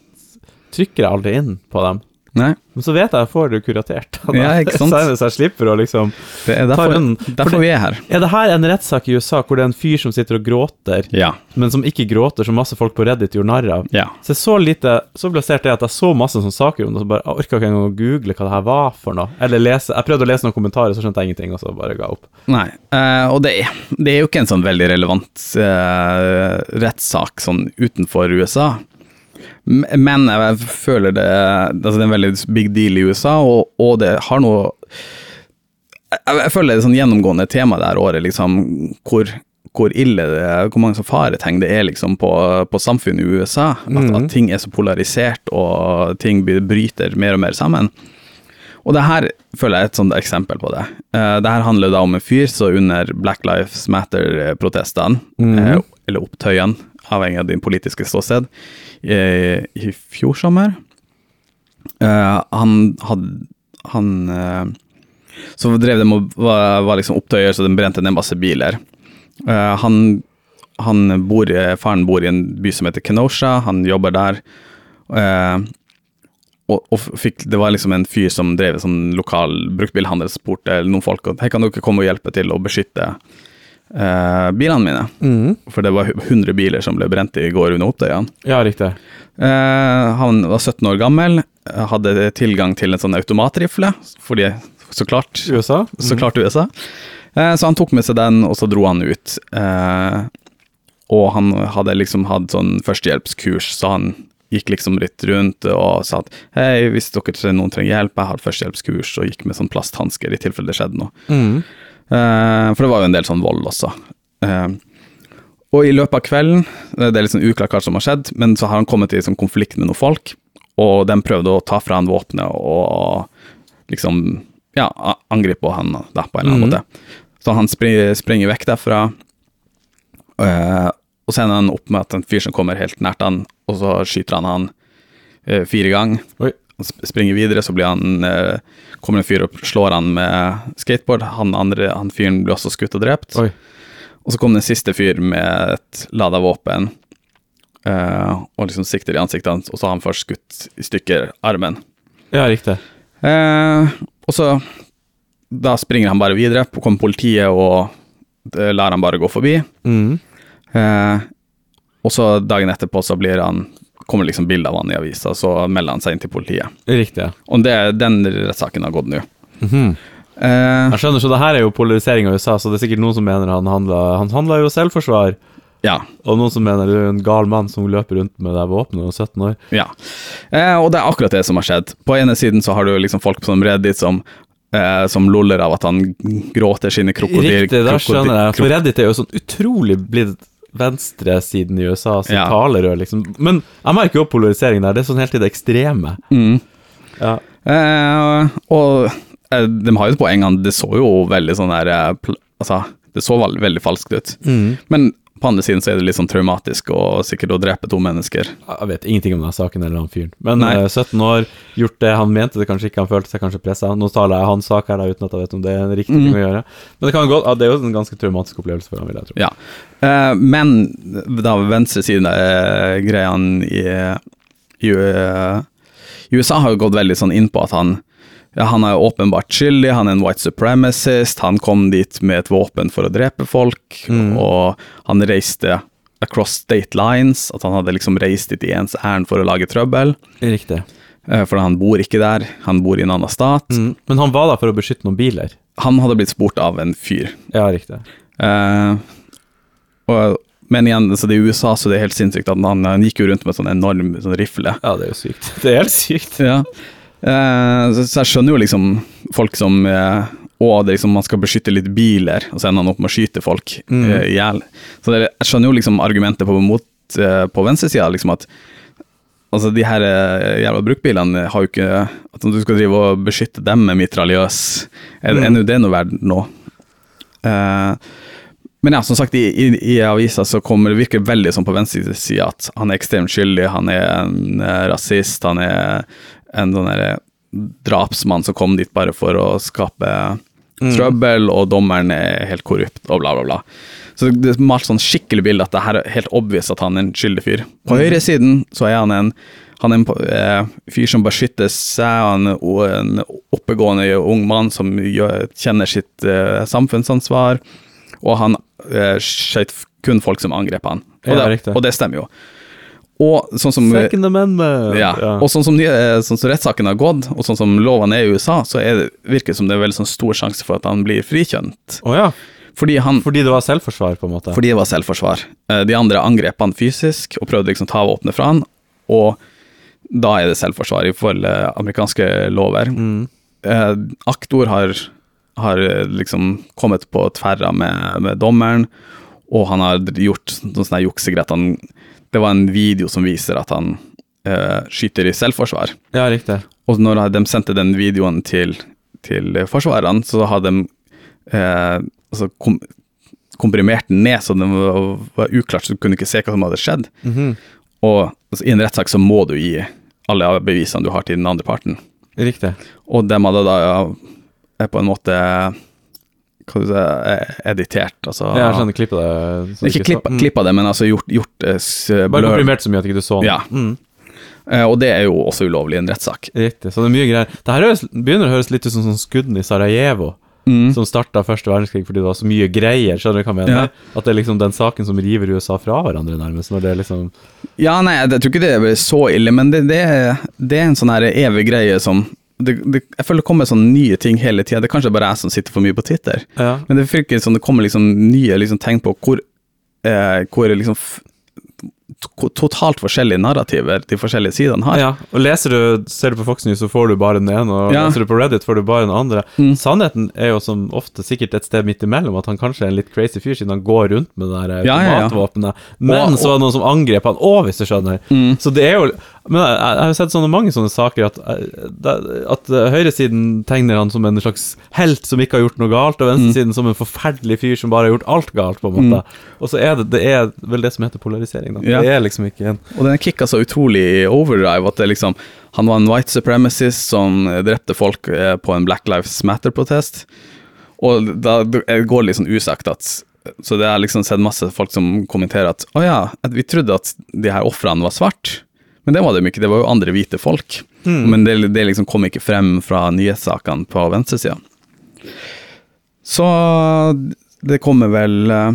A: trykker jeg aldri inn på dem.
B: Nei,
A: Men så vet jeg jeg får det kuratert.
B: Ja, ikke sant?
A: Så jeg- så jeg slipper å liksom
B: det er
A: Tar
B: derfor,
A: en-
B: derfor vi er her.
A: Er det her en rettssak i USA hvor det er en fyr som sitter og gråter,
B: Ja.
A: men som ikke gråter, som masse folk på Reddit gjorde narr av?
B: ja.
A: Så jeg så lite, så plassert det at jeg så masse sånne saker om det, så bare jeg orka ikke engang å google hva det her var for noe. Eller lese, Jeg prøvde å lese noen kommentarer, så skjønte jeg ingenting, og så bare ga jeg opp.
B: Nei, eh, og det er, det er jo ikke en sånn veldig relevant uh, rettssak sånn utenfor USA. M- Men jeg føler det altså Det er en veldig big deal i USA, og, og det har noe jeg, jeg føler det er et sånn gjennomgående tema det her året, liksom, hvor, hvor ille det er, hvor mange sånn faretegn det er liksom, på, på samfunnet i USA. At, at ting er så polarisert, og ting blir- bryter mer og mer sammen. Og det her føler jeg er et sånt eksempel på det. Eh, det her handler da om en fyr som under Black Lives Matter-protestene, eh, eller opptøyene, avhengig av din politiske ståsted, eh, i fjor sommer eh, Han hadde Han eh, Så drev de og var, var liksom opptøyer, så de brente ned masse biler. Eh, han han bor, eh, faren bor i en by som heter Kenosha, han jobber der. Eh, og, og fikk, det var liksom en fyr som drev en sånn lokal bruktbilhandelsport eller noen folk, og hei, kan dere komme og hjelpe til å beskytte eh, bilene mine? For det var 100 biler som ble brent i går under opptøyene.
A: Ja, riktig.
B: Eh, han var 17 år gammel, eh, hadde tilgang til en sånn automatrifle, fordi så klart
A: USA?
B: så klart USA. Eh, Så han tok med seg den, og så dro han ut. Eh, Og han hadde liksom hatt sånn førstehjelpskurs, så han gikk liksom litt rundt og sa at hei, hvis dere tre- noen trenger hjelp, jeg har et førstehjelpskurs, og gikk med sånn plasthansker i tilfelle det skjedde noe.
A: Mm.
B: Eh, For det var jo en del sånn vold også. Eh, Og i løpet av kvelden, det er litt sånn uklart hva som har skjedd, men så har han kommet i sånn konflikt med noen folk, og de prøvde å ta fra han våpenet og liksom ja, a- angripe han da, på en eller annen
A: Mhm.
B: måte. Så han spri- springer vekk derfra, eh, og så ender han opp med at en fyr som kommer helt nært han, og så skyter han han eh, fire ganger.
A: Oi.
B: Han sp- springer videre, så blir han, eh, kommer en fyr og slår han med skateboard. Han, andre, han fyren blir også skutt og drept.
A: Oi.
B: Og så kom det en siste fyr med et lada våpen eh, og liksom sikter i ansiktet hans, og så har han først skutt i stykker armen.
A: Ja, riktig.
B: Eh, og så Da springer han bare videre, kommer politiet og eh, lar han bare gå forbi.
A: Mm.
B: Eh, og så dagen etterpå så blir han kommer liksom bilde av han i avisa, så melder han seg inn til politiet.
A: Riktig. ja.
B: Og det, den rettssaken har gått nå.
A: Mhm.
B: Eh,
A: Jeg skjønner, så det her er jo polarisering av USA, så det er sikkert noen som mener han handla Han handla jo selvforsvar,
B: ja.
A: og noen som mener du er en gal mann som løper rundt med det våpenet og er 17 år.
B: Ja, eh, og det er akkurat det som har skjedd. På ene siden så har du liksom folk som Reddit som, eh, som loller av at han gråter sine krokodil...
A: Riktig, da
B: krokodil-
A: skjønner jeg. For
B: krok-
A: Reddit er jo sånn utrolig blitt venstresiden i USA som
B: Ja.
A: talerør, liksom. Men jeg merker jo opp polariseringen der. Det er sånn helt i det ekstreme.
B: Mm.
A: Ja.
B: Eh, og eh, de har jo et poeng, han- det så jo veldig sånn der eh, pl- Altså, det så vel- veldig falskt ut. Men på andre siden så er det litt sånn traumatisk og sikkert å drepe to mennesker.
A: Jeg vet ingenting om den saken eller han fyren. Men
B: Nei.
A: eh, 17 år, gjort det han mente det kanskje ikke, han følte seg kanskje pressa. Nå taler jeg hans sak her da, uten at jeg vet om det er en riktig ting å gjøre. Men det kan jo godt, ja, det er jo en ganske traumatisk opplevelse for ham, vil jeg tro.
B: Ja. Eh, men da venstresiden uh, greiene i, i, eh, i USA har jo gått veldig sånn inn på at han ja, han er jo åpenbart skyldig, han er en white supremacist, han kom dit med et våpen for å drepe folk, og han reiste across state lines, at han hadde liksom reist dit i ens ærend for å lage trøbbel,
A: Riktig.
B: eh, for han bor ikke der, han bor i en annen stat.
A: Mm. Men han var der for å beskytte noen biler.
B: Han hadde blitt spurt av en fyr,
A: Ja, riktig.
B: Eh, og, men igjen, altså, det er i USA, så det er helt sinnssykt at han, han gikk jo rundt med sånn enorm sånn rifle.
A: Ja, det er jo sykt. Det er helt sykt.
B: Ja. Eh, så, så jeg skjønner jo liksom folk som eh, Og det er liksom, man skal beskytte litt biler, og så ender han opp med å skyte folk eh, i hjel. Så det, er- jeg skjønner jo liksom argumentet på, mot, eh, på venstresida, liksom at Altså, de her eh, jævla bruktbilene har jo ikke At du skal drive og beskytte dem med mitraljøs, er, det- er nå det noe verdt nå? Eh, men ja, som sagt, i, i, i avisa så kommer det virker veldig sånn på venstresida at han er ekstremt skyldig, han er en eh, rasist, han er en sånn derre drapsmann som kom dit bare for å skape trøbbel, og dommeren er helt korrupt, og bla, bla, bla. Så det er malt sånn skikkelig bilde at det her er helt obvious at han er en skyldig fyr. På høyresiden så er han en, han er en eh, fyr som beskytter seg, han er o- en oppegående ung mann som gjør, kjenner sitt eh, samfunnsansvar, og han eh, skjøt kun folk som angrep han. Og,
A: Ja,
B: det,
A: riktig.
B: og det stemmer jo. Og sånn som
A: Second Amendment!
B: ja. Og sånn som, de, eh, sånn som rettssaken har gått, og sånn som lovene er i USA, så er det, virker det som det er veldig sånn stor sjanse for at han blir frikjent.
A: Å ja.
B: Fordi han
A: Fordi det var selvforsvar, på en måte?
B: fordi det var selvforsvar. Eh, De andre angrep han fysisk og prøvde liksom å ta våpenet fra han, og da er det selvforsvar ifølge eh, amerikanske lover. Eh, Aktor har, har eh, liksom kommet på tverra med, med dommeren, og han har gjort noe sånn her juksegreit. Han- Det var en video som viser at han eh, skyter i selvforsvar.
A: ja, riktig.
B: Og når de sendte den videoen til, til forsvarerne, så hadde de eh, altså kom, komprimert den ned, så den var, var uklart, så du kunne ikke se hva som hadde skjedd. Og altså, i en rettssak så må du gi alle bevisene du har til den andre parten.
A: Riktig.
B: Og de hadde da eh, på en måte hva skal du si, eh, editert, altså
A: Ja, jeg skjønner klippet det. så du
B: Ikke
A: så-
B: klippa,
A: Mm.
B: klippa det, men altså gjort, gjort eh, s-
A: Bare
B: blur.
A: komprimert så mye at ikke du så den.
B: Ja.
A: Mm.
B: Eh, og det er jo også ulovlig i en rettssak.
A: Riktig. Så det er mye greier. Det her høres, begynner å høres litt ut som sånn skuddene i Sarajevo,
B: Mm.
A: som starta første verdenskrig fordi det var så mye greier. Skjønner du hva jeg mener? At det er liksom den saken som river USA fra hverandre, nærmest. Når det er liksom
B: Ja, nei, jeg, jeg tror ikke det er så ille, men det, det, er- det er en sånn her evig greie som det, det, Jeg føler det kommer sånne nye ting hele tida. Det er kanskje bare jeg som sitter for mye på Twitter.
A: Ja.
B: Men det virker som det kommer liksom nye liksom, tegn på hvor, eh, hvor liksom f to- totalt forskjellige narrativer de forskjellige sidene har.
A: Ja, og leser du, ser du på Fox News, så får du bare den ene, og
B: Ja. Mm.
A: leser du på Reddit, får du bare den andre. Sannheten er jo som ofte sikkert et sted midt imellom, at han kanskje er en litt crazy fyr, siden han går rundt med det der
B: Ja, ja, ja.
A: automatvåpenet. Men
B: Og- Mm.
A: så var det noen som angrep han òg, hvis du skjønner. Så det er jo Men jeg, jeg har jo sett sånne, mange sånne saker at, eh, at eh, høyresiden tegner han som en slags helt som ikke har gjort noe galt, og
B: Mm.
A: venstresiden som en forferdelig fyr som bare har gjort alt galt, på en måte. Og så er det, det er vel det som heter polarisering, da.
B: Ja.
A: Det er liksom ikke en
B: Og den kicka så utrolig i overdrive at det liksom Han var en white supremacist som drepte folk eh, på en Black Lives Matter-protest. Og da det går det litt sånn usagt at Så det har liksom sett masse folk som kommenterer at å ja, at vi trodde at de her ofrene var svart. Men det var de ikke, det var jo andre hvite folk. Men det, det liksom kom ikke frem fra nyhetssakene på venstresida. Så det kommer vel eh,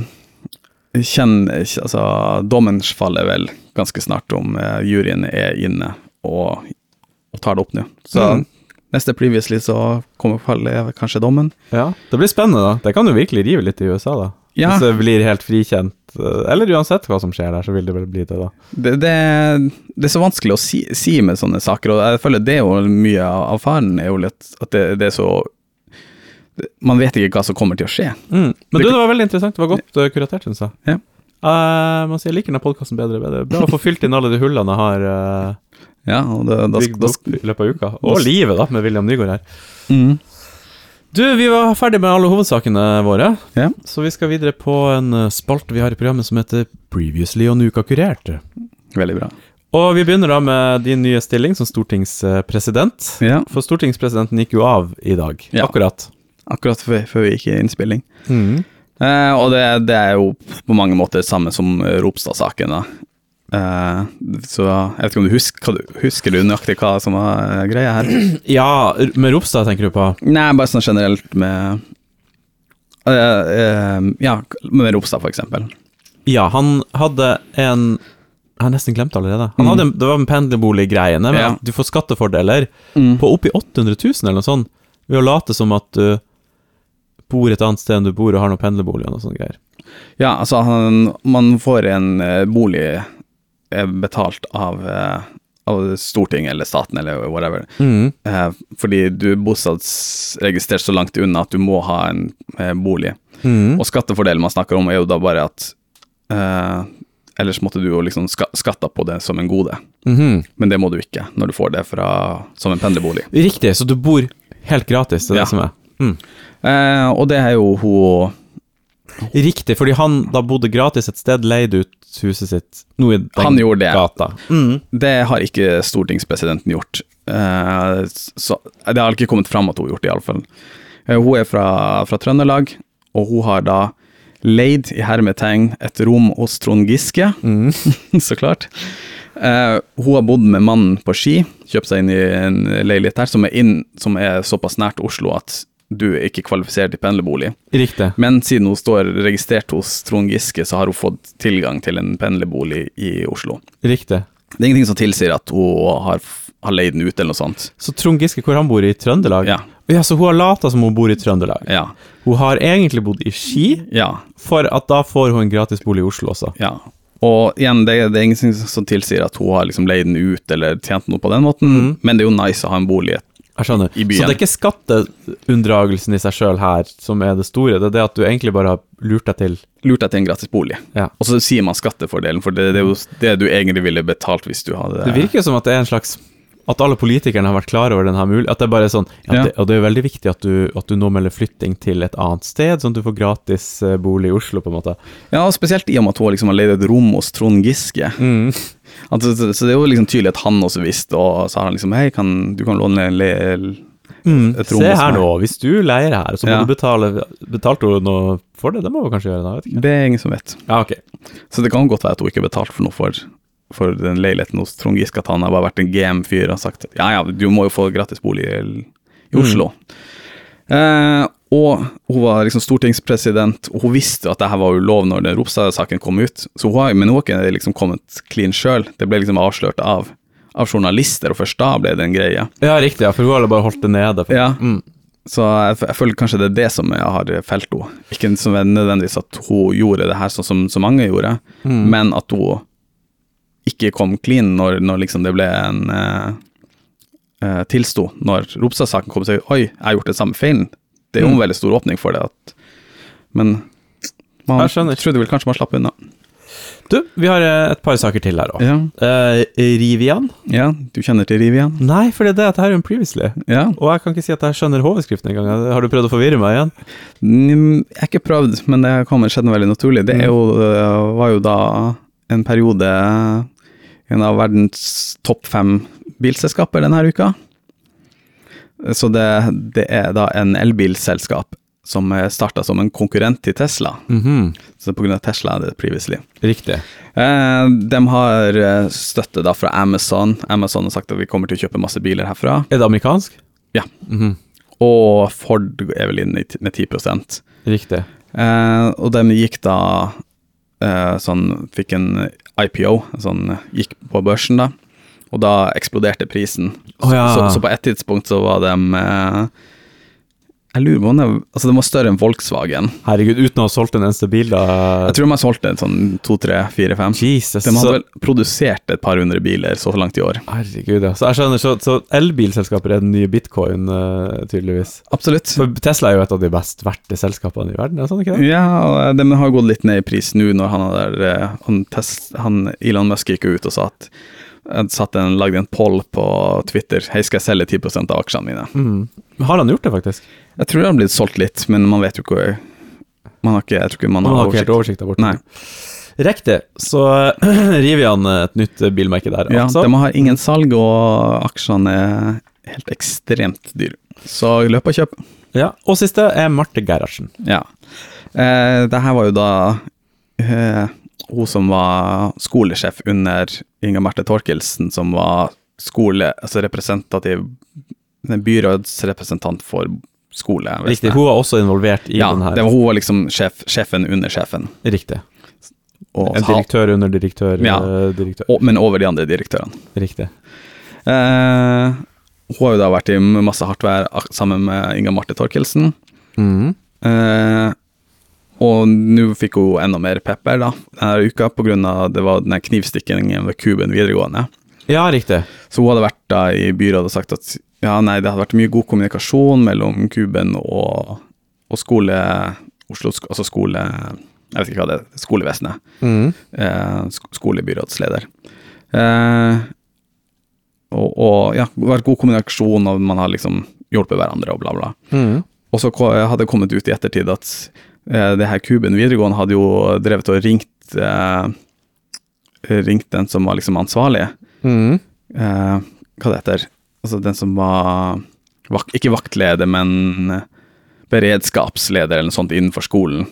B: kjenn, altså, Dommen faller vel ganske snart om eh, juryen er inne og, og tar det opp nå. Så
A: Mm.
B: neste previously så kommer faller kanskje dommen.
A: Ja, Det blir spennende, da. Det kan jo virkelig rive litt i USA, da.
B: Ja.
A: Hvis det blir helt frikjent. eh, Eller uansett hva som skjer der, så vil det vel bli det, da.
B: Det, det, det er så vanskelig å si, si med sånne saker, og jeg føler det er jo mye av faren er jo litt at det, det er så Man vet ikke hva som kommer til å skje.
A: Mm. Men
B: Det-
A: du, det var veldig interessant. Det var godt eh, kuratert, syns jeg.
B: Ja.
A: Eh, man sier jeg liker denne podkasten bedre og bedre. Bra å få fylt inn alle de hullene jeg har eh,
B: Ja, og da, da,
A: bygd
B: da,
A: opp i løpet av uka. Og livet, da, med William Nygaard her.
B: mm,
A: Du, vi var ferdig med alle hovedsakene våre,
B: ja.
A: så vi skal videre på en eh, spalte vi har i programmet som heter Previously og Nuka kurert.
B: Veldig bra.
A: Og vi begynner da med din nye stilling som stortingspresident.
B: Ja,
A: For stortingspresidenten gikk jo av i dag,
B: Ja.
A: akkurat.
B: akkurat før, før vi gikk i innspilling. Eh, og det, det er jo på mange måter det samme som eh, Ropstad-saken. da. Eh, så jeg vet ikke om du husker, hva du husker du nøyaktig hva som var eh, greia her?
A: Ja, R- med Ropstad tenker du på?
B: Nei, bare sånn generelt med eh, eh, Ja, med Ropstad, for eksempel.
A: Ja, han hadde en Jeg har nesten glemt allerede. Han hadde en, det var en pendlerbolig-greiene, men
B: Mm. Ja. Mm.
A: at du får skattefordeler på oppi 800 000 eller noe sånt, ved å late som at du bor et annet sted enn du bor og har noen pendlerbolig og noe sånt greier.
B: Ja, altså han, man får en eh, bolig eh, betalt av, eh, av Stortinget eller staten eller whatever. Eh, fordi du er bostedsregistrert så langt unna at du må ha en eh, bolig. Og skattefordelen man snakker om er jo da bare at eh, Ellers måtte du jo liksom ska skatta på det som en gode. Men det må du ikke når du får det fra, som en pendlerbolig.
A: Riktig, så du bor helt gratis, det er
B: Ja.
A: det som er. Mm.
B: Eh, og det er jo hun
A: Riktig, fordi han da bodde gratis et sted, leide ut huset sitt nå i den
B: Han gjorde det.
A: gata. Mm.
B: Det har ikke stortingspresidenten gjort. Eh, så, det har Eh, ikke kommet fram at hun har gjort det, iallfall. Uh, hun er fra, fra Trøndelag, og hun har da leid i hermetegn et rom hos Trond Giske, så klart. Eh, hun har bodd med mannen på Ski, kjøpt seg inn i en leilighet her som er, inn, som er såpass nært Oslo at du er ikke kvalifiserer til pendlerbolig.
A: Riktig.
B: Men siden hun står registrert hos Trond Giske, så har hun fått tilgang til en pendlerbolig i Oslo.
A: Riktig.
B: Det er ingenting som tilsier at hun har, har leid den ut eller noe sånt.
A: Så Trond Giske, hvor han bor i Trøndelag?
B: Ja.
A: ja så hun har lata som hun bor i Trøndelag.
B: Ja,
A: Hun har egentlig bodd i Ski,
B: ja,
A: for at da får hun en gratis bolig i Oslo også.
B: ja. Og igjen, det, det er ingenting som tilsier at hun har liksom leid den ut eller tjent noe på den måten, men det er jo nice å ha en bolig.
A: Jeg skjønner.
B: I byen.
A: Så det er ikke skatteunndragelsen i seg sjøl her som er det store, det er det at du egentlig bare har lurt deg til
B: Lurt deg til en gratis bolig.
A: Ja.
B: Og så sier man skattefordelen, for det, det er jo det du egentlig ville betalt hvis du hadde
A: Det virker jo som at det er en slags At alle politikerne har vært klar over denne muligheten. At det bare er sånn ja,
B: Ja.
A: det, Og det er veldig viktig at du, at du nå melder flytting til et annet sted, sånn at du får gratis eh, bolig i Oslo, på en måte.
B: Ja, og spesielt i og med at hun liksom har leid et rom hos Trond Giske. At, så, så så det er jo liksom tydelig at han også visste, og så har han liksom Hei, kan, du kan låne en le... Et rom
A: Se
B: hos
A: her
B: meg.
A: nå, hvis du leier her, så må
B: Ja.
A: du betale Betalte hun noe for det? Det må hun kanskje gjøre, da? Vet ikke.
B: Det er ingen som vet.
A: Ja, ok.
B: Så det kan godt være at hun ikke betalte for noe for, for den leiligheten hos Trond Giske, at han har bare vært en GM-fyr og sagt ja ja, du må jo få gratis bolig i, i Oslo. Eh, og hun var liksom stortingspresident, og hun visste at det her var ulovlig når den Ropstad-saken kom ut, så hun har, men hun har ikke liksom kommet clean sjøl. Det ble liksom avslørt av, av journalister, og først da ble det en greie.
A: Ja, riktig, ja, for hun har bare holdt det nede.
B: Ja.
A: Mm.
B: Så jeg, f- jeg føler kanskje det er det som jeg har felt henne. Ikke som er nødvendigvis at hun gjorde det her sånn som så mange gjorde,
A: Mm.
B: men at hun ikke kom clean når, når liksom det ble en eh, eh, tilsto. Når Ropstad-saken kom, så oi, jeg har gjort den samme feilen. Det er jo en
A: Mm.
B: veldig stor åpning for det. At, men man
A: Jeg skjønner.
B: trodde vel kanskje man slapp unna.
A: Du, vi har eh, et par saker til her òg.
B: Ja,
A: Rivian?
B: ja du kjenner til Riv igjen?
A: Nei, for det er det at her er hun previously.
B: Ja.
A: Og jeg kan ikke si at jeg skjønner hovedskriften engang. Eh, Har du prøvd å forvirre meg igjen?
B: Mm, Jeg har ikke prøvd, men det kommer skjedde veldig naturlig. Det er jo, øh, var jo da en periode en av verdens topp fem bilselskaper denne uka. Så det, det er da en elbilselskap som starta som en konkurrent til Tesla.
A: Mhm.
B: Så på grunn av Tesla er det previously.
A: Riktig.
B: Eh, De har eh, støtte da fra Amazon. Amazon har sagt at vi kommer til å kjøpe masse biler herfra.
A: Er det amerikansk?
B: Ja.
A: Mhm.
B: Og Ford er vel inne i ti- med 10
A: Riktig.
B: Eh, og de gikk da eh, sånn Fikk en IPO, sånn gikk på børsen, da. Og da eksploderte prisen.
A: Å, ja.
B: så, så på et tidspunkt så var de eh, Jeg lurer på om det Altså, de var større enn Volkswagen.
A: Herregud, uten å ha solgt en eneste bil, da
B: Jeg tror de har solgt en sånn to, tre, fire, fem.
A: Jesus.
B: De hadde
A: Så,
B: vel produsert et par hundre biler så langt i år.
A: herregud, ja. Så jeg skjønner, så, så elbilselskaper er den nye bitcoin, eh, tydeligvis.
B: Absolutt.
A: For Tesla er jo et av de best verdt selskapene i verden, er det sånn ikke det?
B: Ja, og de har gått litt ned i pris nå når han, er der, eh, han, test, han Elon Musk gikk ut og sa at han satt en, lagde en poll på Twitter. Hei, skal jeg selge 10 av aksjene mine?
A: Mm. Har han gjort det, faktisk?
B: Jeg tror det har blitt solgt litt, men man vet jo ikke Man har ikke, jeg tror ikke man
A: Han
B: har,
A: har ikke helt oversikt
B: oversikt.
A: der borte.
B: Nei.
A: Riktig, så river han et nytt bilmerke der.
B: Ja,
A: altså.
B: de har ingen salg, og aksjene er helt ekstremt dyre. Så løp og kjøp.
A: ja. Og siste er Marte Gerhardsen.
B: Ja. Eh, det her var jo da eh, hun som var skolesjef under Inga Marte Torkelsen, som var skole, altså representativ byrådsrepresentant for skole.
A: Riktig, hun var også involvert i
B: ja,
A: den her.
B: det var, hun var liksom sjef, sjefen under sjefen.
A: Riktig.
B: Og,
A: En direktør under direktør,
B: Ja.
A: eh, direktør.
B: og, men over de andre direktørene.
A: Riktig.
B: Eh, hun har jo da vært i masse hardt vær ak- sammen med Inga Marte Torkelsen.
A: Mhm.
B: Eh, og nå fikk hun enda mer pepper da, denne uka pga. det var den her knivstikkingen ved Kuben videregående.
A: Ja, riktig.
B: Så hun hadde vært da i byrådet og sagt at ja, nei, det hadde vært mye god kommunikasjon mellom Kuben og, og skole... Oslo, sk- altså skole... Jeg vet ikke hva det er. Skolevesenet. Eh, sk skolebyrådsleder. Eh, og, og ja, vært god kommunikasjon, og man har liksom hjulpet hverandre og bla, bla.
A: Mm.
B: Og så ko- hadde det kommet ut i ettertid at eh, det her Kuben videregående hadde jo drevet og ringt eh, Ringt den som var liksom ansvarlig.
A: Mm.
B: Eh, hva det heter Altså den som var vak,
A: Mm.
B: Ikke vaktleder, men beredskapsleder eller noe sånt innenfor skolen.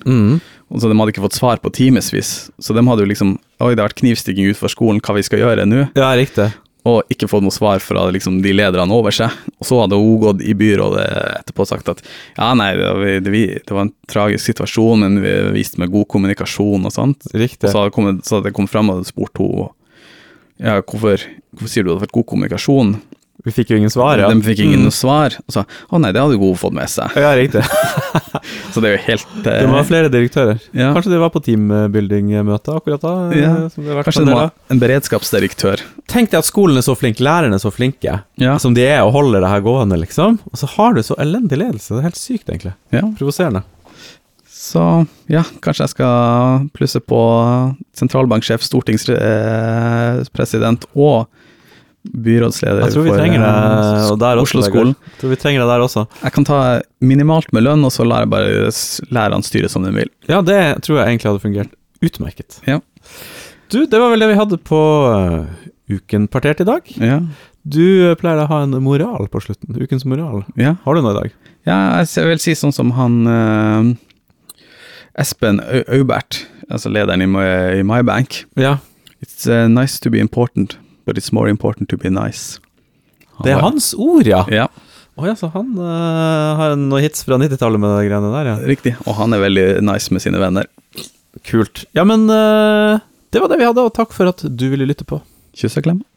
B: Og så De hadde ikke fått svar på timevis, så de hadde jo liksom Oi, det har vært knivstikking utenfor skolen, hva vi skal gjøre nå?
A: Ja, riktig.
B: Og ikke fått noe svar fra liksom, de lederne over seg. Og så hadde hun gått i byrådet etterpå og sagt at ja, nei, det var, det vi- det var en tragisk situasjon, men vi viste med god kommunikasjon og sånt.
A: Riktig.
B: Og så hadde, kommet, så hadde jeg kommet frem og spurt henne ja, hvorfor, hvorfor sier du det hadde vært god kommunikasjon.
A: Vi fikk jo ingen svar, ja. Mm.
B: De fikk ingen svar. Og sa å nei, det hadde hun fått med seg.
A: Ja, riktig.
B: Så det er jo helt eh,
A: Det var flere direktører.
B: ja.
A: Kanskje de var på teambuilding-møte akkurat da? eh,
B: Ja.
A: Som det har vært
B: Kanskje
A: en
B: det
A: del
B: var
A: av.
B: en beredskapsdirektør.
A: Tenk deg at skolen er så flink, lærerne er så flinke,
B: Ja.
A: som de er og holder det her gående, liksom. Og så har du så elendig ledelse. Det er helt sykt, egentlig.
B: ja.
A: Provoserende.
B: Så ja, kanskje jeg skal plusse på sentralbanksjef, stortingspresident og byrådsleder
A: Jeg tror vi
B: for,
A: trenger
B: eh,
A: deg og der også.
B: Oslo-skolen.
A: Vegard. Jeg tror vi trenger deg der også.
B: Jeg kan ta minimalt med lønn, og så lar jeg bare s- lærerne styre som de vil.
A: Ja, det tror jeg egentlig hadde fungert utmerket.
B: Ja.
A: Du, det var vel det vi hadde på eh, Uken partert i dag.
B: Ja,
A: Du eh, pleier å ha en moral på slutten. Ukens moral.
B: ja.
A: Har du noe i dag?
B: ja jeg ser- vil si sånn som han eh, Espen Au- Aubert, altså lederen i My, i My Bank.
A: Ja,
B: It's eh, nice to be important, but it's more important to be nice.
A: Det er
B: var-
A: hans ord, ja.
B: Ja,
A: Å ja, så han eh, har noen hits fra 90-tallet med de greiene der, ja.
B: riktig. Og han er veldig nice med sine venner.
A: Kult. Ja, men eh, det var det vi hadde, og takk for at du ville lytte på.
B: Kyss og klem.